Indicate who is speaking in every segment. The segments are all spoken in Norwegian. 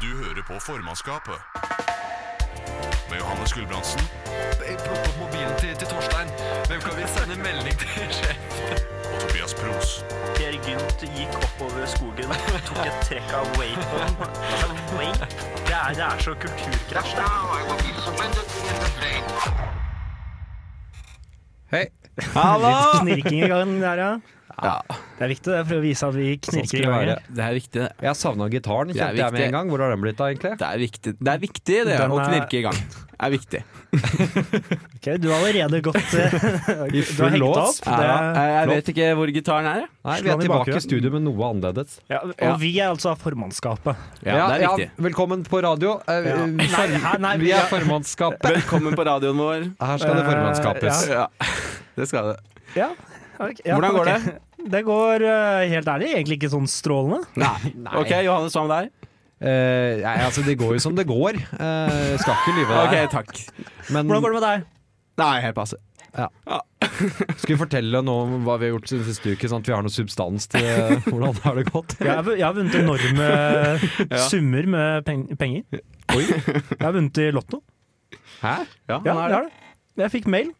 Speaker 1: Du hører på formannskapet. Med Johannes Gulbrandsen.
Speaker 2: plukke opp mobilen til, til Torstein. Hvem kan vi sende melding til sjef?
Speaker 1: Og Tobias Pros.
Speaker 3: Per Gynt gikk oppover skogen, tok et trekk av vapen. Altså, vape? Det er, det er så kulturkrasj. Det er.
Speaker 4: Hei.
Speaker 5: Hallo!
Speaker 6: Knirking i gang der, ja.
Speaker 5: Ja,
Speaker 6: Det er viktig det, for å vise at vi
Speaker 5: sånn
Speaker 6: knirker i
Speaker 5: skal det
Speaker 6: gang.
Speaker 5: være. Det er viktig, det.
Speaker 4: Jeg savna gitaren.
Speaker 5: Det er
Speaker 4: kjente jeg med
Speaker 5: viktig.
Speaker 4: en gang. Hvor har den blitt av, egentlig?
Speaker 5: Det er viktig, det, er viktig, det
Speaker 6: Den
Speaker 5: å
Speaker 6: er-
Speaker 5: knirke i gang. Det er viktig.
Speaker 6: Ok, du har allerede gått eh, Du
Speaker 4: full
Speaker 6: har hekta
Speaker 4: lås.
Speaker 6: opp.
Speaker 5: Ja,
Speaker 6: Det,
Speaker 5: jeg jeg vet ikke hvor gitaren er, jeg.
Speaker 4: Nei,
Speaker 6: Slå
Speaker 4: Vi er tilbake
Speaker 6: den i
Speaker 4: i
Speaker 6: bakgrunnen.
Speaker 4: studio med noe annerledes.
Speaker 6: ja,
Speaker 5: Ja.
Speaker 6: og vi er altså formannskapet.
Speaker 5: Ja, det er viktig.
Speaker 4: velkommen på radio. Eh,
Speaker 6: Ja.
Speaker 4: vi-
Speaker 6: Nei, hæ, nei,
Speaker 4: vi er
Speaker 6: ja.
Speaker 4: formannskapet.
Speaker 5: Velkommen på radioen vår.
Speaker 4: Her skal det
Speaker 6: Eh,
Speaker 4: formannskapes.
Speaker 5: Ja, det skal det.
Speaker 6: Ja. ok, ja,
Speaker 5: Hvordan går
Speaker 6: ok. Det går eh, helt ærlig egentlig ikke sånn strålende.
Speaker 5: Nei. Ok, Johannes, hva med deg?
Speaker 4: Eh, nei, altså, det går jo som det går. Eh, skal ikke lyve
Speaker 5: Ok,
Speaker 4: der.
Speaker 5: takk.
Speaker 4: Men
Speaker 6: Hvordan går det med deg?
Speaker 5: Nei, helt passe.
Speaker 4: skal vi fortelle nå om hva vi har gjort siden siste uke, sånn at vi har noe substans til eh, hvordan har det gått?
Speaker 6: Jeg har, vu- jeg har vunnet enorme summer med peng penger.
Speaker 4: Oi.
Speaker 6: Jeg har vunnet i Lotto.
Speaker 4: Hæ?
Speaker 6: Ja, jeg har det. Jeg fikk mail.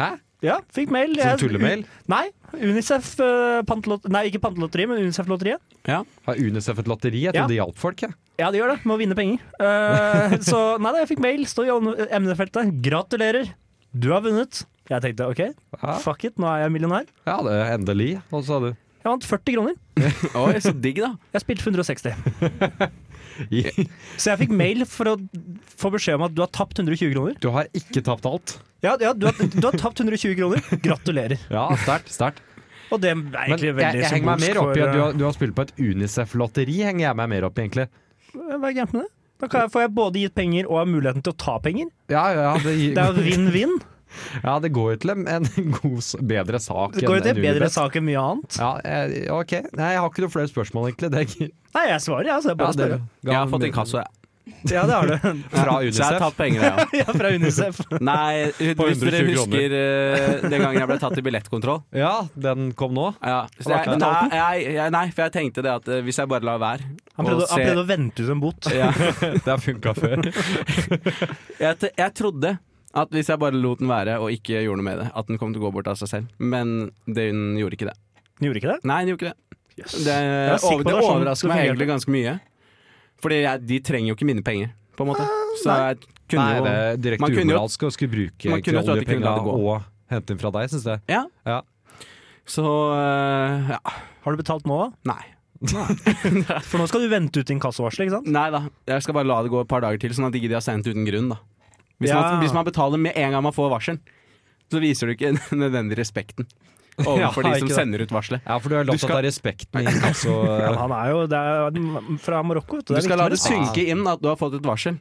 Speaker 4: Hæ?
Speaker 6: Ja, fikk mail.
Speaker 4: Sånn
Speaker 6: Jeg-
Speaker 4: tullemail?
Speaker 6: Nei, Unicef eh, pantelot... Nei, ikke pantelotteriet, men Unicef-lotteriet.
Speaker 4: Har UNICEF et lotteri? Jeg
Speaker 6: Ja.
Speaker 4: trodde det hjalp folk, jeg.
Speaker 6: Ja, det gjør det, med å vinne penger. Eh, så nei da, jeg fikk mail, stod i om- emnefeltet. Gratulerer, du har vunnet. Jeg tenkte ok,
Speaker 4: Ja.
Speaker 6: fuck it, nå er jeg millionær.
Speaker 4: Ja, det er endelig. Og så hadde
Speaker 6: Jeg vant 40 kroner.
Speaker 5: Oi, så digg, da.
Speaker 6: Jeg spilte for 160. Så jeg fikk mail for å få beskjed om at du har tapt 120 kroner.
Speaker 4: Du har ikke tapt alt.
Speaker 6: Ja, ja du, har, du har tapt 120 kroner. Gratulerer.
Speaker 4: Ja, sterkt. sterkt.
Speaker 6: Og det er egentlig
Speaker 4: Men
Speaker 6: veldig
Speaker 4: jeg, jeg henger meg mer opp i at
Speaker 6: for,
Speaker 4: du har, du har spilt på et Unicef-lotteri. henger jeg meg mer opp i, egentlig.
Speaker 6: eh, Hva er gærent med det? Da kan jeg, får jeg både gitt penger og har muligheten til å ta penger.
Speaker 4: Ja, ja, det,
Speaker 6: Det er jo vinn-vinn.
Speaker 4: ja, det går jo til en, en god, s- bedre sak
Speaker 6: Det går jo
Speaker 4: enn-
Speaker 6: til
Speaker 4: enn
Speaker 6: bedre
Speaker 4: Unibet.
Speaker 6: sak enn mye annet.
Speaker 4: Ja, eh, ok. Nei, jeg har ikke noen flere spørsmål, egentlig. Det er ikke,
Speaker 6: Nei, jeg svarer, jeg. Altså, jeg
Speaker 4: ja,
Speaker 6: bare
Speaker 4: det,
Speaker 6: spør.
Speaker 5: Jeg har fått inkasso, jeg.
Speaker 6: Ja, det har du.
Speaker 4: Fra
Speaker 5: Så jeg har
Speaker 4: Unicef.
Speaker 5: tatt penger, jeg.
Speaker 6: Ja, fra Unicef.
Speaker 5: ja. Nei,
Speaker 4: På
Speaker 5: hvis dere
Speaker 4: 120 kroner.
Speaker 5: husker eh, den gangen jeg ble tatt i billettkontroll.
Speaker 4: Ja, den kom nå.
Speaker 5: Ja,
Speaker 6: Har
Speaker 5: så
Speaker 6: du
Speaker 5: jeg,
Speaker 6: ikke
Speaker 5: nei,
Speaker 6: betalt
Speaker 5: jeg, jeg, nei, for jeg tenkte det at eh, hvis jeg bare lar være
Speaker 6: Han
Speaker 5: og
Speaker 6: prøvde, han
Speaker 5: se-
Speaker 6: prøvde å vente ut en bot.
Speaker 5: ja,
Speaker 4: Det har funka før.
Speaker 5: jeg, t- jeg trodde at hvis jeg bare lot den være og ikke gjorde noe med det, at den kom til å gå bort av seg selv. Men den gjorde ikke det.
Speaker 6: Han gjorde ikke det?
Speaker 5: Nei, den gjorde ikke det.
Speaker 6: Yes.
Speaker 5: Det,
Speaker 6: er sikker på at
Speaker 5: over, det
Speaker 6: det er sånn
Speaker 5: overrasker
Speaker 6: det
Speaker 5: meg
Speaker 6: fungerte.
Speaker 5: egentlig ganske mye. Fordi jeg, de trenger jo ikke mine penger, på en måte. Så
Speaker 6: Ah, nei.
Speaker 5: jeg kunne
Speaker 4: Nei, det er
Speaker 5: Man
Speaker 4: direkte
Speaker 5: kunne jo-
Speaker 4: umoralsk å skulle bruke
Speaker 5: Man kunne jo tro at de kunne
Speaker 4: oljepenga
Speaker 5: la det gå.
Speaker 4: og hente inn fra deg, syns jeg.
Speaker 5: jo Ja.
Speaker 4: Ja.
Speaker 5: Så eh, ja.
Speaker 6: Har du betalt nå, da?
Speaker 5: Nei.
Speaker 6: For nå skal du vente ut inkassovarselet, ikke sant?
Speaker 5: Nei da. Jeg skal bare la det gå et par dager til, sånn at ikke de har sendt uten grunn, da. Hvis,
Speaker 6: Ja.
Speaker 5: man, hvis man betaler med en gang man får varsel, så viser du ikke den nødvendige respekten overfor
Speaker 4: Ja,
Speaker 5: de som
Speaker 4: ikke det.
Speaker 5: sender ut varselet.
Speaker 4: Ja, for du har
Speaker 5: Du
Speaker 4: latt
Speaker 5: skal-
Speaker 4: at det er respekt med inkasso.
Speaker 6: Ja, men han er jo det er, fra Marokko, vet du.
Speaker 5: Du
Speaker 6: Det er
Speaker 5: skal la det
Speaker 6: viktig med respekt.
Speaker 5: synke inn at du har fått et varsel.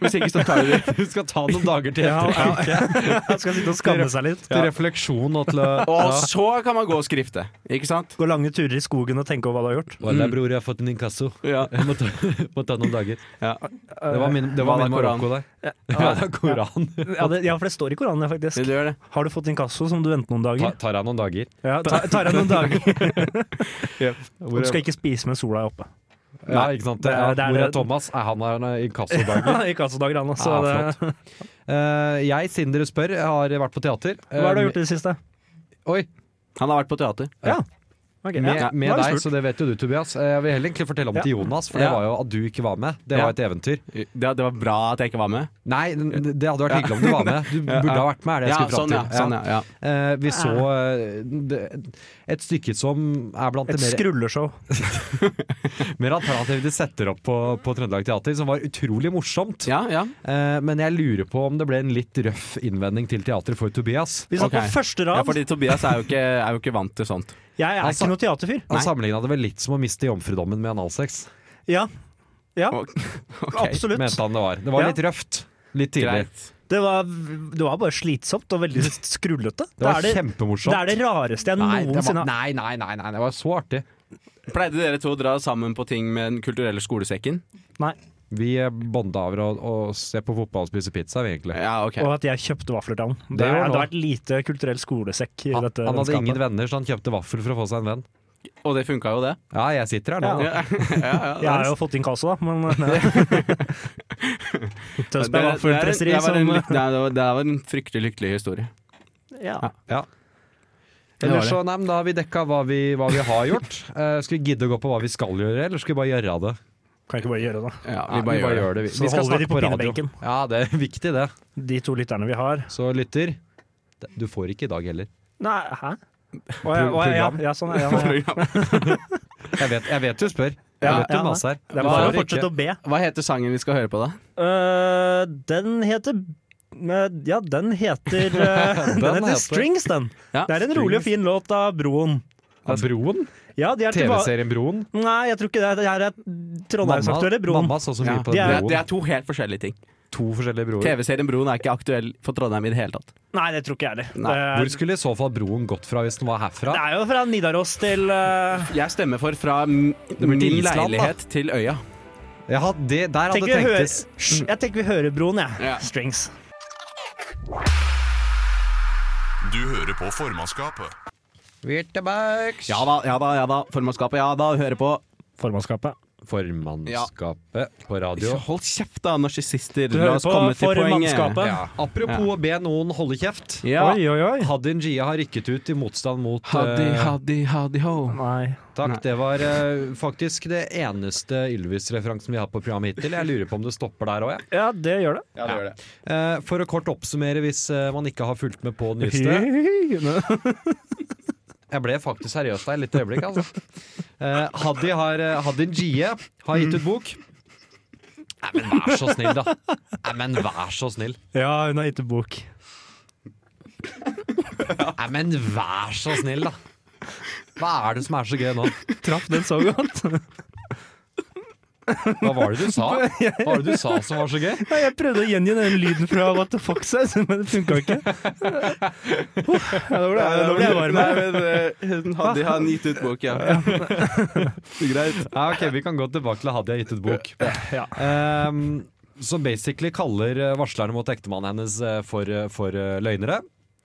Speaker 5: Hvis ikke så tar du
Speaker 4: Du skal ta noen dager til
Speaker 6: Ja,
Speaker 4: etter.
Speaker 6: ja, ja. Han skal sitte og skamme seg litt.
Speaker 4: Til refleksjon og til å
Speaker 5: Og så kan man gå og skrifte, ikke sant?
Speaker 6: Gå lange turer i skogen og tenke over hva du har gjort.
Speaker 4: Voilà, bror, jeg har fått en inkasso.
Speaker 5: Ja.
Speaker 4: Mm. Jeg må ta, må ta noen dager.
Speaker 5: Ja.
Speaker 6: Eh,
Speaker 4: Det var min, det
Speaker 5: Hva
Speaker 4: var
Speaker 5: da,
Speaker 4: min
Speaker 5: Koran?
Speaker 4: Marokko der. Ja, det er Koran.
Speaker 6: Ja, det, ja, for det står i Koranen, ja,
Speaker 5: Vil
Speaker 6: faktisk.
Speaker 5: du gjøre det?
Speaker 6: Har du fått inkasso som du venter noen
Speaker 4: Ta,
Speaker 6: dager?
Speaker 4: tar jeg noen dager?
Speaker 6: Ja, ta- tar deg noen dager.
Speaker 4: Hvor
Speaker 6: Du
Speaker 4: er,
Speaker 6: skal ikke spise mens sola er oppe.
Speaker 4: ja, ikke sant? Ja,
Speaker 6: Det er-
Speaker 4: hvor
Speaker 6: det er-
Speaker 4: er Thomas? Er han har en inkassodag.
Speaker 6: Inkassodager, han også.
Speaker 4: Ja,
Speaker 6: det-
Speaker 4: Eh, jeg, siden dere spør, har vært på teater. Eh,
Speaker 6: Hva har du gjort i det siste?
Speaker 4: Oi,
Speaker 5: Han har vært på teater.
Speaker 6: Ja. Ok,
Speaker 4: med,
Speaker 6: ja.
Speaker 4: med
Speaker 6: Da er det
Speaker 4: deg,
Speaker 6: spurt.
Speaker 4: så det vet jo du, Tobias. Eh, Jeg vil heller egentlig fortelle om
Speaker 6: Ja.
Speaker 4: til Jonas, for det
Speaker 5: Ja.
Speaker 4: var jo at du ikke var med. Det
Speaker 5: Ja.
Speaker 4: var et eventyr.
Speaker 5: Det, det var bra at jeg ikke var med.
Speaker 4: Nei, det det hadde vært hyggelig om du var med. Du burde ha vært med, er det jeg
Speaker 5: Ja,
Speaker 4: skulle fram
Speaker 5: sånn
Speaker 4: til.
Speaker 5: ja. Sånn, ja. ja.
Speaker 4: Eh, vi så eh, det- et stykke som er blant
Speaker 6: Et
Speaker 4: det mer,
Speaker 6: skrulleshow.
Speaker 4: mer alternative de setter opp på, på Trøndelag Teater, som var utrolig morsomt.
Speaker 5: ja, ja.
Speaker 4: Eh, men jeg lurer på om det ble en litt røff innvending til teateret for Tobias.
Speaker 6: Vi satt
Speaker 5: Ok.
Speaker 6: på første
Speaker 5: ja
Speaker 6: rad.
Speaker 5: fordi Tobias er jo, ikke, er jo ikke vant til sånt.
Speaker 6: Jeg er
Speaker 4: Altså-
Speaker 6: ikke noe teaterfyr.
Speaker 4: Han
Speaker 5: Nei.
Speaker 4: sammenligna det vel litt som å miste jomfrudommen med analsex,
Speaker 6: Ja. ja
Speaker 5: Ok,
Speaker 4: mente
Speaker 6: Absolutt.
Speaker 4: han det var. Det var
Speaker 6: Ja.
Speaker 4: litt røft. Litt tidlig.
Speaker 5: Greit.
Speaker 6: Det var, det var bare slitsomt og veldig skrullete.
Speaker 4: Det var
Speaker 6: er det, det
Speaker 4: kjempemorsomt.
Speaker 6: er det rareste jeg
Speaker 4: Nei, det var,
Speaker 6: noensinne har
Speaker 4: nei, nei, nei, nei, det var så artig.
Speaker 5: Pleide dere to å dra sammen på ting med Den kulturelle skolesekken?
Speaker 6: Nei.
Speaker 4: Vi eh, bonda over å, å se på fotball og spise pizza, vi, egentlig.
Speaker 5: Ja, ok.
Speaker 6: Og at jeg kjøpte vafler til han.
Speaker 4: Det
Speaker 6: Det
Speaker 4: gjorde
Speaker 6: hadde
Speaker 4: han.
Speaker 6: vært lite kulturell skolesekk i
Speaker 4: Han,
Speaker 6: dette
Speaker 4: han hadde
Speaker 6: vennskapet.
Speaker 4: ingen venner, så han kjøpte vaffel for å få seg en venn.
Speaker 5: Og det funka jo, det.
Speaker 4: Ja, jeg sitter her nå.
Speaker 5: Ja, ja, ja,
Speaker 6: Jeg har jo fått inn kassa, da, men nei. Tønsberg var fullt
Speaker 5: det, er-
Speaker 6: presteri
Speaker 5: det, var en
Speaker 6: som
Speaker 5: lyk- nei, det, var, det var en fryktelig lykkelig historie.
Speaker 6: ja.
Speaker 4: Ja.
Speaker 5: Det var
Speaker 4: Ellers
Speaker 5: det.
Speaker 4: så, nei, men Da har vi dekka hva vi, hva vi har gjort. Eh, skal vi gidde å gå på hva vi skal gjøre, eller skal vi bare gjøre det?
Speaker 6: Kan jeg ikke bare gjøre det.
Speaker 5: Ja,
Speaker 4: Nei,
Speaker 5: vi bare gjør det.
Speaker 4: vi.
Speaker 6: Så
Speaker 4: vi skal snakke
Speaker 6: holder vi de på
Speaker 4: på radio.
Speaker 6: pinnebenken.
Speaker 4: Ja, det er viktig, det.
Speaker 6: De to lytterne vi har
Speaker 4: Så lytter, det- du får ikke i dag heller.
Speaker 6: Nei, hæ? Å, ja, å, ja, ja, sånn, ja, ja, ja.
Speaker 4: Jeg vet, jeg vet du spør. Jeg
Speaker 6: Ja,
Speaker 4: vet du
Speaker 6: ja.
Speaker 4: maser her.
Speaker 6: Det er
Speaker 4: Du
Speaker 6: bare å
Speaker 4: får ikke.
Speaker 6: fortsette å be.
Speaker 5: Hva heter sangen vi skal høre på, da?
Speaker 6: Øh, den heter øh, Ja, den heter øh, Den, heter
Speaker 4: heter-
Speaker 6: Strings, den.
Speaker 5: Ja,
Speaker 6: det er en rolig og fin låt av Broen.
Speaker 4: Ja, Broen?
Speaker 6: Ja, de er tilbake
Speaker 4: TV-serien Broen?
Speaker 6: Nei, jeg tror ikke det. Det her er Trondheimsaktuelle Broen.
Speaker 4: mamma så så mye
Speaker 5: Ja.
Speaker 4: på
Speaker 6: De er-
Speaker 5: Det, er,
Speaker 4: Broen.
Speaker 5: det er to helt forskjellige ting.
Speaker 4: to forskjellige broer.
Speaker 5: TV-serien Broen er ikke aktuell for Trondheim i det hele tatt.
Speaker 6: Nei, det tror ikke jeg heller.
Speaker 5: Nei,
Speaker 4: Hvor
Speaker 6: Det, er-
Speaker 4: skulle i så fall broen gått fra hvis den var
Speaker 6: det
Speaker 4: herfra?
Speaker 6: er jo fra Nidaros til øh,
Speaker 5: Jeg stemmer for fra m-
Speaker 4: blir
Speaker 5: min
Speaker 4: til Island, da.
Speaker 5: leilighet til øya.
Speaker 4: Ja, det, der hadde
Speaker 6: tenker vi hører,
Speaker 4: tenktes.
Speaker 6: Hysj, Jeg tenker vi hører Broen, jeg.
Speaker 5: Ja.
Speaker 6: Strings.
Speaker 1: Du hører på formannskapet.
Speaker 5: Ja da, ja da, ja da. Formannskapet, ja da. Høre på.
Speaker 6: Formannskapet.
Speaker 4: Formannskapet på radio.
Speaker 5: Hold kjeft, da, narsissister.
Speaker 6: hører
Speaker 5: La oss
Speaker 6: på
Speaker 5: komme til
Speaker 6: formannskapet.
Speaker 5: poenget.
Speaker 4: Ja. Apropos å be noen holde kjeft.
Speaker 5: Ja.
Speaker 6: Oi, oi, oi.
Speaker 4: Hadin Jia har rykket ut i motstand mot
Speaker 5: Haddi,
Speaker 4: eh,
Speaker 5: haddi, haddi ho.
Speaker 6: Nei.
Speaker 4: Takk.
Speaker 5: Nei.
Speaker 4: Det var eh, faktisk det eneste Ylvis-referansen vi har på programmet hittil. Jeg lurer på om det stopper der òg, jeg.
Speaker 6: Ja, det gjør det.
Speaker 5: Ja, det gjør det.
Speaker 4: Eh, for å kort oppsummere, hvis eh, man ikke har fulgt med på det nyeste Jeg ble faktisk seriøs der litt øyeblikk, altså. Eh, Haddi har, eh, Hadin Jie har gitt ut bok. Nei, men vær så snill, da. Nei, men vær så snill.
Speaker 6: Ja, hun har gitt ut bok.
Speaker 4: Nei, men vær så snill, da. Hva er det som er så gøy nå?
Speaker 6: Traff den så godt.
Speaker 4: Hva var det du sa? Hva var det du sa som var så gøy?
Speaker 6: Nei, jeg prøvde å gjengi den lyden fra What the Fox, her, men det funka ikke. Uh, ja, Nå ble jeg- nå ble
Speaker 5: Eh,
Speaker 6: jeg varm. her.
Speaker 5: Haddi har gitt ut bok, ja. Greit.
Speaker 4: Ja, ok, Vi kan gå tilbake til Hadia har gitt ut bok.
Speaker 6: Ja.
Speaker 4: Ehm, som basically kaller eh, varslerne mot ektemannen hennes eh, for, eh, for eh, løgnere.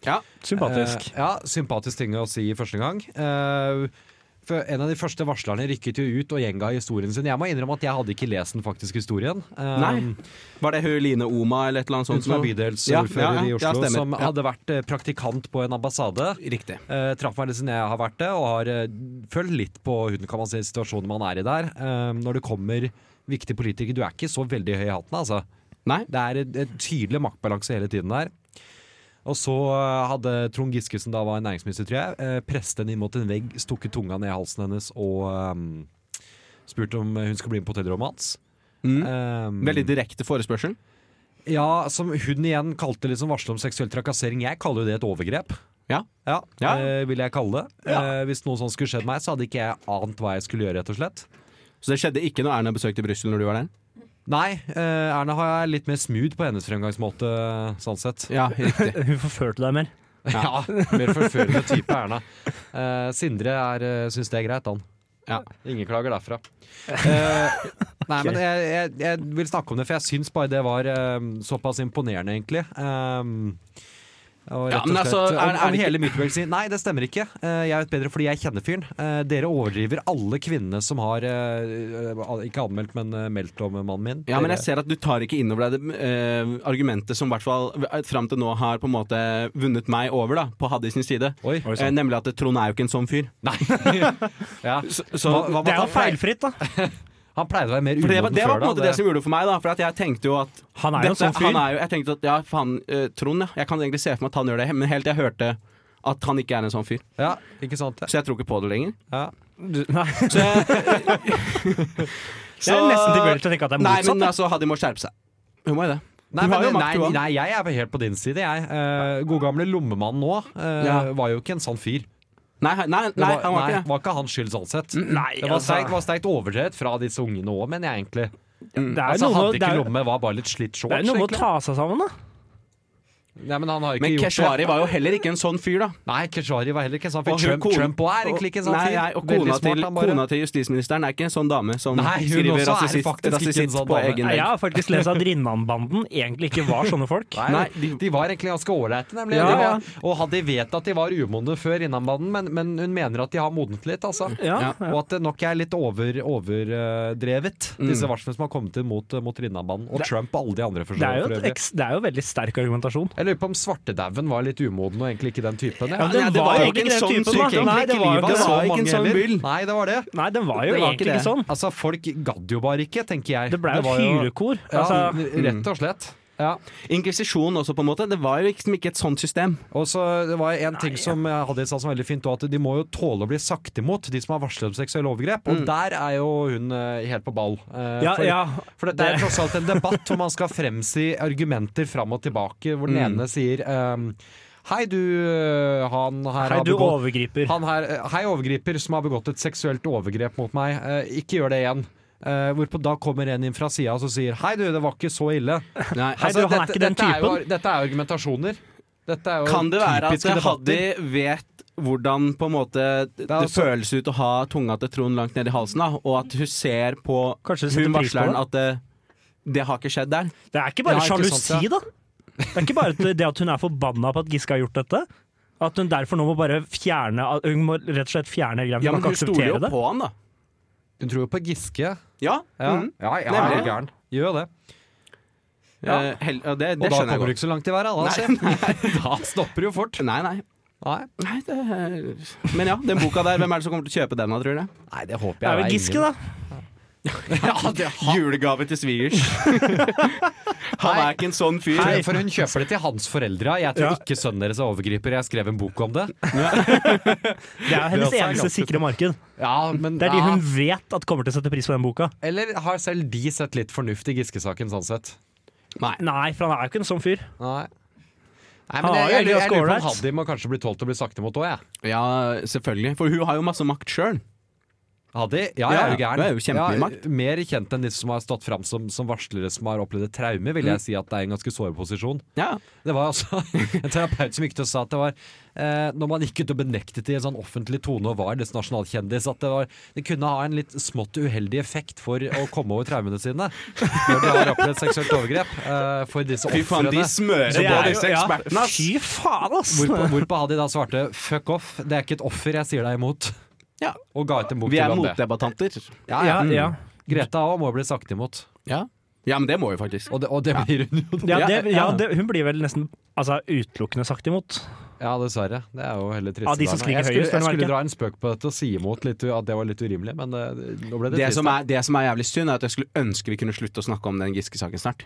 Speaker 5: Ja.
Speaker 4: Eh, ja, sympatisk ting å si i første gang. Eh, for en av de første varslerne rykket jo ut og gjenga historien sin. Jeg må innrømme at jeg hadde ikke lest den faktiske historien. Eh,
Speaker 5: Nei. Var det hun Line Oma eller et eller annet
Speaker 4: Hun
Speaker 5: sånt?
Speaker 4: som er
Speaker 5: noe?
Speaker 4: bydelsordfører
Speaker 5: Ja, ja,
Speaker 4: i
Speaker 5: ja,
Speaker 4: Oslo,
Speaker 5: stemmer.
Speaker 4: som
Speaker 5: Ja.
Speaker 4: hadde vært eh, praktikant på en ambassade.
Speaker 5: Riktig.
Speaker 4: Uh, traff meg litt siden jeg har vært det, og har eh, følt litt på huden, kan man si, situasjonen man er i der. Eh, når det kommer viktige politikere Du er ikke så veldig høy i hatten, altså.
Speaker 5: Nei.
Speaker 4: Det er en en tydelig maktbalanse hele tiden der. Og så eh, hadde Trond Giske, som da var næringsminister, tror jeg, eh, presset henne inn mot en vegg, stukket tunga ned i halsen hennes og eh, spurt om hun skulle bli med på hotellrommet hans.
Speaker 5: Mm.
Speaker 4: Eh,
Speaker 5: Veldig direkte forespørsel.
Speaker 4: ja, som hun igjen kalte liksom varsel om seksuell trakassering. Jeg kaller jo det et overgrep.
Speaker 5: Ja.
Speaker 4: Ja,
Speaker 5: Ja.
Speaker 4: eh, vil jeg kalle det. Eh, hvis noe sånt skulle skjedd meg, så hadde ikke jeg ant hva jeg skulle gjøre, rett og slett.
Speaker 5: Så det skjedde ikke når Erna besøkte Brussel når du var der?
Speaker 4: Nei, eh, Erna har jeg litt mer smooth på hennes fremgangsmåte, sånn sett.
Speaker 5: Ja, riktig.
Speaker 6: Eh, Hun forførte deg mer.
Speaker 4: Ja, mer forførende type Erna. Eh, Sindre er, eh, syns det er greit, han.
Speaker 5: Ja.
Speaker 4: Ingen klager derfra. Eh, nei, men jeg, jeg, jeg vil snakke om det, for jeg syns bare det var eh, såpass imponerende, egentlig. Um, og
Speaker 5: Ja,
Speaker 4: rett og
Speaker 5: men
Speaker 4: slett,
Speaker 5: altså, er- er
Speaker 4: om, om
Speaker 5: det ikke-
Speaker 4: hele Midtbøl sier Nei, det stemmer ikke. Eh, jeg vet bedre fordi jeg kjenner fyren. Eh, dere overdriver alle kvinnene som har eh, Ikke anmeldt, men eh, meldt om mannen min.
Speaker 5: Ja, men jeg
Speaker 4: Dere-
Speaker 5: ser at du tar ikke inn over deg det eh, argumentet som i hvert fall eh, fram til nå har på en måte vunnet meg over, da, på Haddi sin side.
Speaker 4: Oi.
Speaker 6: Oi, sånn.
Speaker 5: Eh, nemlig at Trond er jo ikke en sånn fyr.
Speaker 4: Nei. ja.
Speaker 5: Så, så,
Speaker 4: Hva- hva-
Speaker 6: Det er jo
Speaker 4: han pleier-
Speaker 6: feilfritt, da.
Speaker 4: Han pleide å være mer
Speaker 5: for det, var-
Speaker 4: umoden
Speaker 5: det var
Speaker 4: før,
Speaker 5: på en
Speaker 4: da.
Speaker 5: måte det som gjorde det for meg, da. For at jeg tenkte jo at
Speaker 6: Han er jo en
Speaker 5: dette-
Speaker 6: sånn fyr.
Speaker 5: Han er jo, jeg tenkte at ja, faen, eh, Trond, ja. Jeg kan egentlig se for meg at han gjør det, men helt til jeg hørte at han ikke er en sånn fyr.
Speaker 4: Ja, ikke sant?
Speaker 5: Så jeg tror ikke på det lenger.
Speaker 4: Ja.
Speaker 6: Nei,
Speaker 5: Så jeg,
Speaker 6: jeg er nesten tilbøyelig til å tenke at det er
Speaker 5: Nei, men
Speaker 6: motsatt.
Speaker 5: altså, Hadde må skjerpe seg. Hun må jo det.
Speaker 4: Nei, men,
Speaker 5: Hun har jo
Speaker 4: nei,
Speaker 5: makt, hun.
Speaker 4: nei, jeg er helt på din side, jeg. Eh, God gamle lommemannen nå eh,
Speaker 5: Ja.
Speaker 4: var jo ikke en sånn fyr.
Speaker 5: Nei, nei, nei,
Speaker 4: Det var,
Speaker 5: han var ikke det.
Speaker 4: var ikke hans skyld sånn sett.
Speaker 6: Nei,
Speaker 4: det var
Speaker 6: altså.
Speaker 4: sterkt var sterkt overdrevet fra disse ungene òg, mener jeg egentlig.
Speaker 6: Det er
Speaker 4: Altså,
Speaker 6: noe
Speaker 4: hadde
Speaker 6: med- det
Speaker 4: ikke
Speaker 6: er-
Speaker 4: lomme, var bare litt slitt
Speaker 6: det er
Speaker 4: shorts.
Speaker 6: noe med å
Speaker 4: egentlig.
Speaker 6: ta seg sammen, da.
Speaker 4: Nei, men han har ikke
Speaker 5: Men
Speaker 4: gjort
Speaker 5: Keshvari
Speaker 4: det.
Speaker 5: var jo heller ikke en sånn fyr, da.
Speaker 4: Nei, Keshvari var heller ikke sånn. For
Speaker 5: Og hun
Speaker 4: Trump,
Speaker 5: kone-
Speaker 4: Trump også er egentlig ikke en sånn
Speaker 5: nei,
Speaker 4: fyr.
Speaker 5: Nei, og
Speaker 4: Veldig
Speaker 5: kona,
Speaker 4: smart,
Speaker 5: til,
Speaker 4: han bare.
Speaker 5: kona til justisministeren er ikke en sånn dame som
Speaker 4: Nei, hun
Speaker 5: skriver
Speaker 4: også er
Speaker 5: rasist,
Speaker 4: faktisk ikke en
Speaker 5: rasist
Speaker 4: sånn
Speaker 5: på
Speaker 4: dame.
Speaker 5: egen
Speaker 6: Nei,
Speaker 5: vegg.
Speaker 6: jeg har faktisk lest at Rinnan-banden egentlig ikke var sånne folk.
Speaker 4: Nei,
Speaker 5: Nei,
Speaker 4: de, de var egentlig ganske ålreite, nemlig.
Speaker 5: Ja,
Speaker 4: de var, Og hadde de vet at de var umodne før innanbanen, men, men hun mener at de har modnet litt, altså.
Speaker 5: Ja.
Speaker 6: Ja, ja. Mm.
Speaker 4: Og at det nok er litt over, overdrevet, disse varslene som har kommet inn mot, mot Rinnabanen. Og Trump og alle de andre, for
Speaker 6: Det
Speaker 4: så
Speaker 6: er jo
Speaker 4: vidt. for
Speaker 6: et
Speaker 4: øvrig.
Speaker 6: eks- det er jo veldig sterk argumentasjon.
Speaker 4: Jeg lurer på om svartedauden var litt umoden og egentlig ikke den typen.
Speaker 6: Ja,
Speaker 4: Ja.
Speaker 5: men
Speaker 6: den
Speaker 5: ja, det var jo ikke
Speaker 6: egentlig
Speaker 5: en
Speaker 6: den
Speaker 5: sånn
Speaker 6: typen,
Speaker 5: syk,
Speaker 6: da.
Speaker 5: egentlig.
Speaker 6: Nei, det var jo
Speaker 5: Livet
Speaker 6: ikke
Speaker 5: var
Speaker 6: så
Speaker 5: ikke en
Speaker 6: mange
Speaker 5: sånn
Speaker 6: heller.
Speaker 5: byll.
Speaker 4: Nei, det var det.
Speaker 6: Nei, den var jo
Speaker 5: Det var ikke
Speaker 6: egentlig ikke
Speaker 5: det.
Speaker 6: sånn.
Speaker 4: Altså, folk gadd jo bare ikke, tenker jeg.
Speaker 6: Det ble jo
Speaker 4: var
Speaker 6: et hylekor.
Speaker 4: Ja,
Speaker 6: Altså,
Speaker 4: rett og slett. Ja.
Speaker 5: Inkvisisjon også, på en måte. Det var jo liksom ikke et sånt system.
Speaker 4: Og så det var en ting som Hadia sa som var veldig fint, og at de må jo tåle å bli sagt imot, de som har varslet om seksuelle overgrep. Og der er jo hun eh, helt på ball. Eh,
Speaker 6: Mm. ja,
Speaker 4: for,
Speaker 6: ja.
Speaker 4: for det er tross alt en debatt hvor man skal fremsi argumenter fram og tilbake, hvor den
Speaker 6: Mm.
Speaker 4: ene sier ehm, Hei, du eh, han her
Speaker 6: Nei,
Speaker 4: har
Speaker 6: du
Speaker 4: begått
Speaker 6: overgriper.
Speaker 4: han her, eh, Hei, overgriper som har begått et seksuelt overgrep mot meg. Eh, ikke gjør det igjen. Eh, hvorpå da kommer en inn fra sida og så sier Hei, du, det var ikke så ille. Altså,
Speaker 5: Nei, altså,
Speaker 6: Hei, du, han er
Speaker 4: dette,
Speaker 6: ikke den
Speaker 4: dette Er jo, dette er jo argumentasjoner. Dette er jo
Speaker 5: Kan det være at
Speaker 4: typiske
Speaker 5: Haddy
Speaker 4: debatter.
Speaker 5: vet hvordan på en måte det,
Speaker 4: er altså- også-
Speaker 5: føles ut å ha tunga til Trond langt ned i halsen, da, og at hun ser på
Speaker 6: Kanskje hun setter
Speaker 5: hun
Speaker 6: pris på
Speaker 5: varsleren at det, det har ikke skjedd der.
Speaker 6: Det er ikke bare
Speaker 4: Ja, ikke
Speaker 6: sjalusi,
Speaker 4: sant, ja.
Speaker 6: da. Det er ikke bare at- det at hun er forbanna på at Giske har gjort dette. At hun derfor nå må bare fjerne Hun må rett og slett fjerne greia. Ja,
Speaker 5: Ja, men
Speaker 6: kan
Speaker 5: hun
Speaker 6: ikke
Speaker 5: stoler jo
Speaker 6: akseptere det.
Speaker 5: på han, da.
Speaker 4: Hun tror jo på Giske.
Speaker 5: Ja.
Speaker 4: Ja,
Speaker 5: Mm.
Speaker 4: ja, ja,
Speaker 5: Nemlig.
Speaker 4: er du gæren. Gjør jo det.
Speaker 5: Eh, hell- og det,
Speaker 4: Og
Speaker 5: det
Speaker 4: da
Speaker 5: skjønner jeg
Speaker 4: kommer du
Speaker 5: godt.
Speaker 4: ikke så langt i været. Da, se. da stopper det jo fort.
Speaker 5: Nei, nei.
Speaker 4: Nei,
Speaker 5: nei det, er- men ja, den boka der, hvem er det som kommer til å kjøpe den, da, tror du?
Speaker 4: Nei det håper jeg.
Speaker 6: Det er vel Giske, da.
Speaker 5: Ja, det Julegave til svigers. han er ikke en sånn fyr.
Speaker 4: Nei, for hun kjøper det til hans foreldre. Jeg tror
Speaker 6: Ja.
Speaker 4: ikke sønnen deres er overgriper. Jeg skrev en bok om det.
Speaker 6: Det er hennes
Speaker 4: Det er også
Speaker 6: eneste
Speaker 4: ganske-
Speaker 6: sikre marked.
Speaker 4: Ja, men
Speaker 6: Det er de
Speaker 4: ja.
Speaker 6: hun vet at kommer til å sette pris på den boka.
Speaker 4: Eller har selv de sett litt fornuft i Giske-saken, sånn sett?
Speaker 5: Nei.
Speaker 6: Nei, for han er jo ikke en sånn fyr.
Speaker 4: Nei. Nei, men
Speaker 6: Han har
Speaker 4: jeg,
Speaker 6: jo
Speaker 4: jeg, jeg,
Speaker 6: egentlig
Speaker 4: lurer på om
Speaker 6: skåret.
Speaker 4: Haddy må kanskje bli tålt å bli sakte mot òg, jeg.
Speaker 5: Ja, selvfølgelig. For hun har jo masse makt sjøl.
Speaker 4: Haddy? Ja,
Speaker 5: Ja,
Speaker 4: jeg er jo
Speaker 5: ja.
Speaker 4: gæren.
Speaker 5: Det er jo kjempemye makt.
Speaker 4: mer kjent enn de som har stått fram som, som varslere som har opplevd et traume, vil jeg si at det er en ganske sår posisjon.
Speaker 5: Ja.
Speaker 4: Det var altså en terapeut som gikk ut og sa at det var eh, Når man gikk ut og benektet i en sånn offentlig tone og var dets nasjonalkjendis, at det, var, det kunne ha en litt smått uheldig effekt for å komme over traumene sine når de har opplevd seksuelt overgrep. Eh, for disse
Speaker 5: Fy faen, de
Speaker 4: ofrene.
Speaker 5: smører
Speaker 6: Det
Speaker 5: på
Speaker 6: er jo-
Speaker 5: disse
Speaker 6: ja.
Speaker 5: ekspertene, ass!
Speaker 6: Fy faen, ass!
Speaker 4: Hvorpå, hvorpå Hadi da svarte 'fuck off', det er ikke et offer jeg sier deg imot.
Speaker 5: Ja.
Speaker 4: Og ga ut en bok
Speaker 5: Vi
Speaker 4: til
Speaker 5: er
Speaker 4: ham om det.
Speaker 5: motdebattanter. Mm.
Speaker 4: Ja, ja.
Speaker 6: Ja, ja.
Speaker 4: Greta òg må bli sagt imot.
Speaker 5: Ja. ja, men det må vi faktisk.
Speaker 4: Og det, og det blir hun jo.
Speaker 6: Ja,
Speaker 5: Ja,
Speaker 6: det, ja,
Speaker 5: ja.
Speaker 6: det, hun blir vel nesten altså, utelukkende sagt imot.
Speaker 4: Ja, dessverre. Det er jo heller trist.
Speaker 6: Av de som skriker
Speaker 4: jeg skulle,
Speaker 6: høyest,
Speaker 4: jeg
Speaker 6: vel å merke.
Speaker 4: skulle dra en spøk på dette og si imot litt, at det var litt urimelig, men eh, nå ble det,
Speaker 5: Det
Speaker 4: trist.
Speaker 5: som, er, det som er jævlig synd, er at jeg skulle ønske vi kunne slutte å snakke om den Giske-saken snart.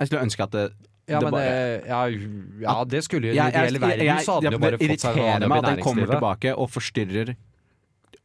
Speaker 5: Jeg skulle ønske at det,
Speaker 4: ja,
Speaker 5: det
Speaker 4: men,
Speaker 5: bare
Speaker 4: eh, ja, ja, det skulle jo i en
Speaker 5: Jeg- jeg-
Speaker 4: ideell verden, så hadde
Speaker 5: jeg-
Speaker 4: hun jo bare
Speaker 5: det
Speaker 4: fått seg en
Speaker 5: irriterer
Speaker 4: annen
Speaker 5: meg
Speaker 4: jobb
Speaker 5: at
Speaker 4: i
Speaker 5: den kommer
Speaker 4: næringslivet.
Speaker 5: tilbake og forstyrrer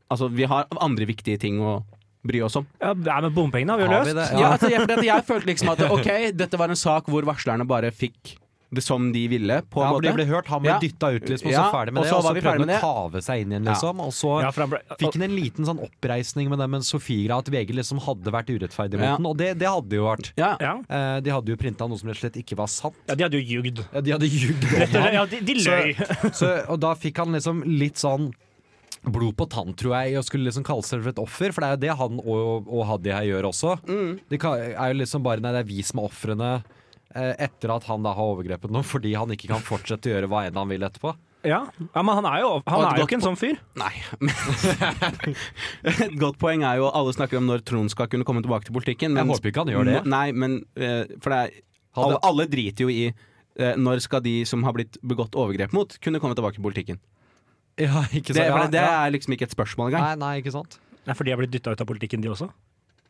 Speaker 5: Altså, vi har andre viktige ting å bry oss om.
Speaker 6: Ja, nei, men bompengene har vi jo
Speaker 4: Har vi
Speaker 6: løst.
Speaker 4: det?
Speaker 5: Ja,
Speaker 4: Ja.
Speaker 5: altså, jeg, fordi at jeg følte liksom at ok, dette var en sak hvor varslerne bare fikk det som de ville, på
Speaker 4: Ja,
Speaker 5: en
Speaker 4: for de
Speaker 5: måte.
Speaker 4: ble hørt, han ble
Speaker 5: Ja.
Speaker 4: dytta ut, liksom, og så
Speaker 5: Ja,
Speaker 4: ferdig med
Speaker 5: og
Speaker 4: det.
Speaker 5: så
Speaker 4: Og så
Speaker 5: var vi ferdig
Speaker 4: prøvde han å
Speaker 5: med
Speaker 4: kave seg inn igjen, liksom. Og så
Speaker 6: Ja, for han ble,
Speaker 4: fikk han en liten sånn oppreisning med det med en Sofiegreia, at VG liksom hadde vært urettferdig mot
Speaker 5: Ja.
Speaker 4: den, og det, det hadde jo vært.
Speaker 5: Ja.
Speaker 6: ja.
Speaker 4: Eh, de hadde jo printa noe som rett og slett ikke var sant.
Speaker 6: ja, de hadde jo ljugd.
Speaker 4: Ja, de hadde ljugd om
Speaker 6: Rett og slett,
Speaker 4: ham.
Speaker 6: ja, de, de løy.
Speaker 4: Så, og da fikk han liksom litt sånn blod på tann, tror jeg, og skulle liksom kalle seg for et offer. For det er jo det han og, og Haddy her gjør også.
Speaker 5: Mm.
Speaker 4: De kan, er jo liksom bare Nei, det er vi som er ofrene. eh, Etter at han da har overgrepet noen, fordi han ikke kan fortsette å gjøre hva enn han vil etterpå.
Speaker 6: Ja. ja, men han er jo, han
Speaker 5: Og
Speaker 6: er
Speaker 5: et
Speaker 6: jo
Speaker 5: godt
Speaker 6: ikke en sånn fyr.
Speaker 5: Nei. men- Et godt poeng er jo alle snakker om når Trond skal kunne komme tilbake til politikken.
Speaker 4: Jeg håper ikke han gjør det.
Speaker 5: Nei, men eh, For det er
Speaker 4: Hadde-
Speaker 5: alle, alle driter jo i eh, når skal de som har blitt begått overgrep mot, kunne komme tilbake til politikken?
Speaker 4: Ja, ikke
Speaker 5: Det, for det, det
Speaker 4: ja.
Speaker 5: er liksom ikke et spørsmål engang.
Speaker 4: Nei, nei, ikke sant?
Speaker 6: Nei, for de har blitt dytta ut av politikken, de også.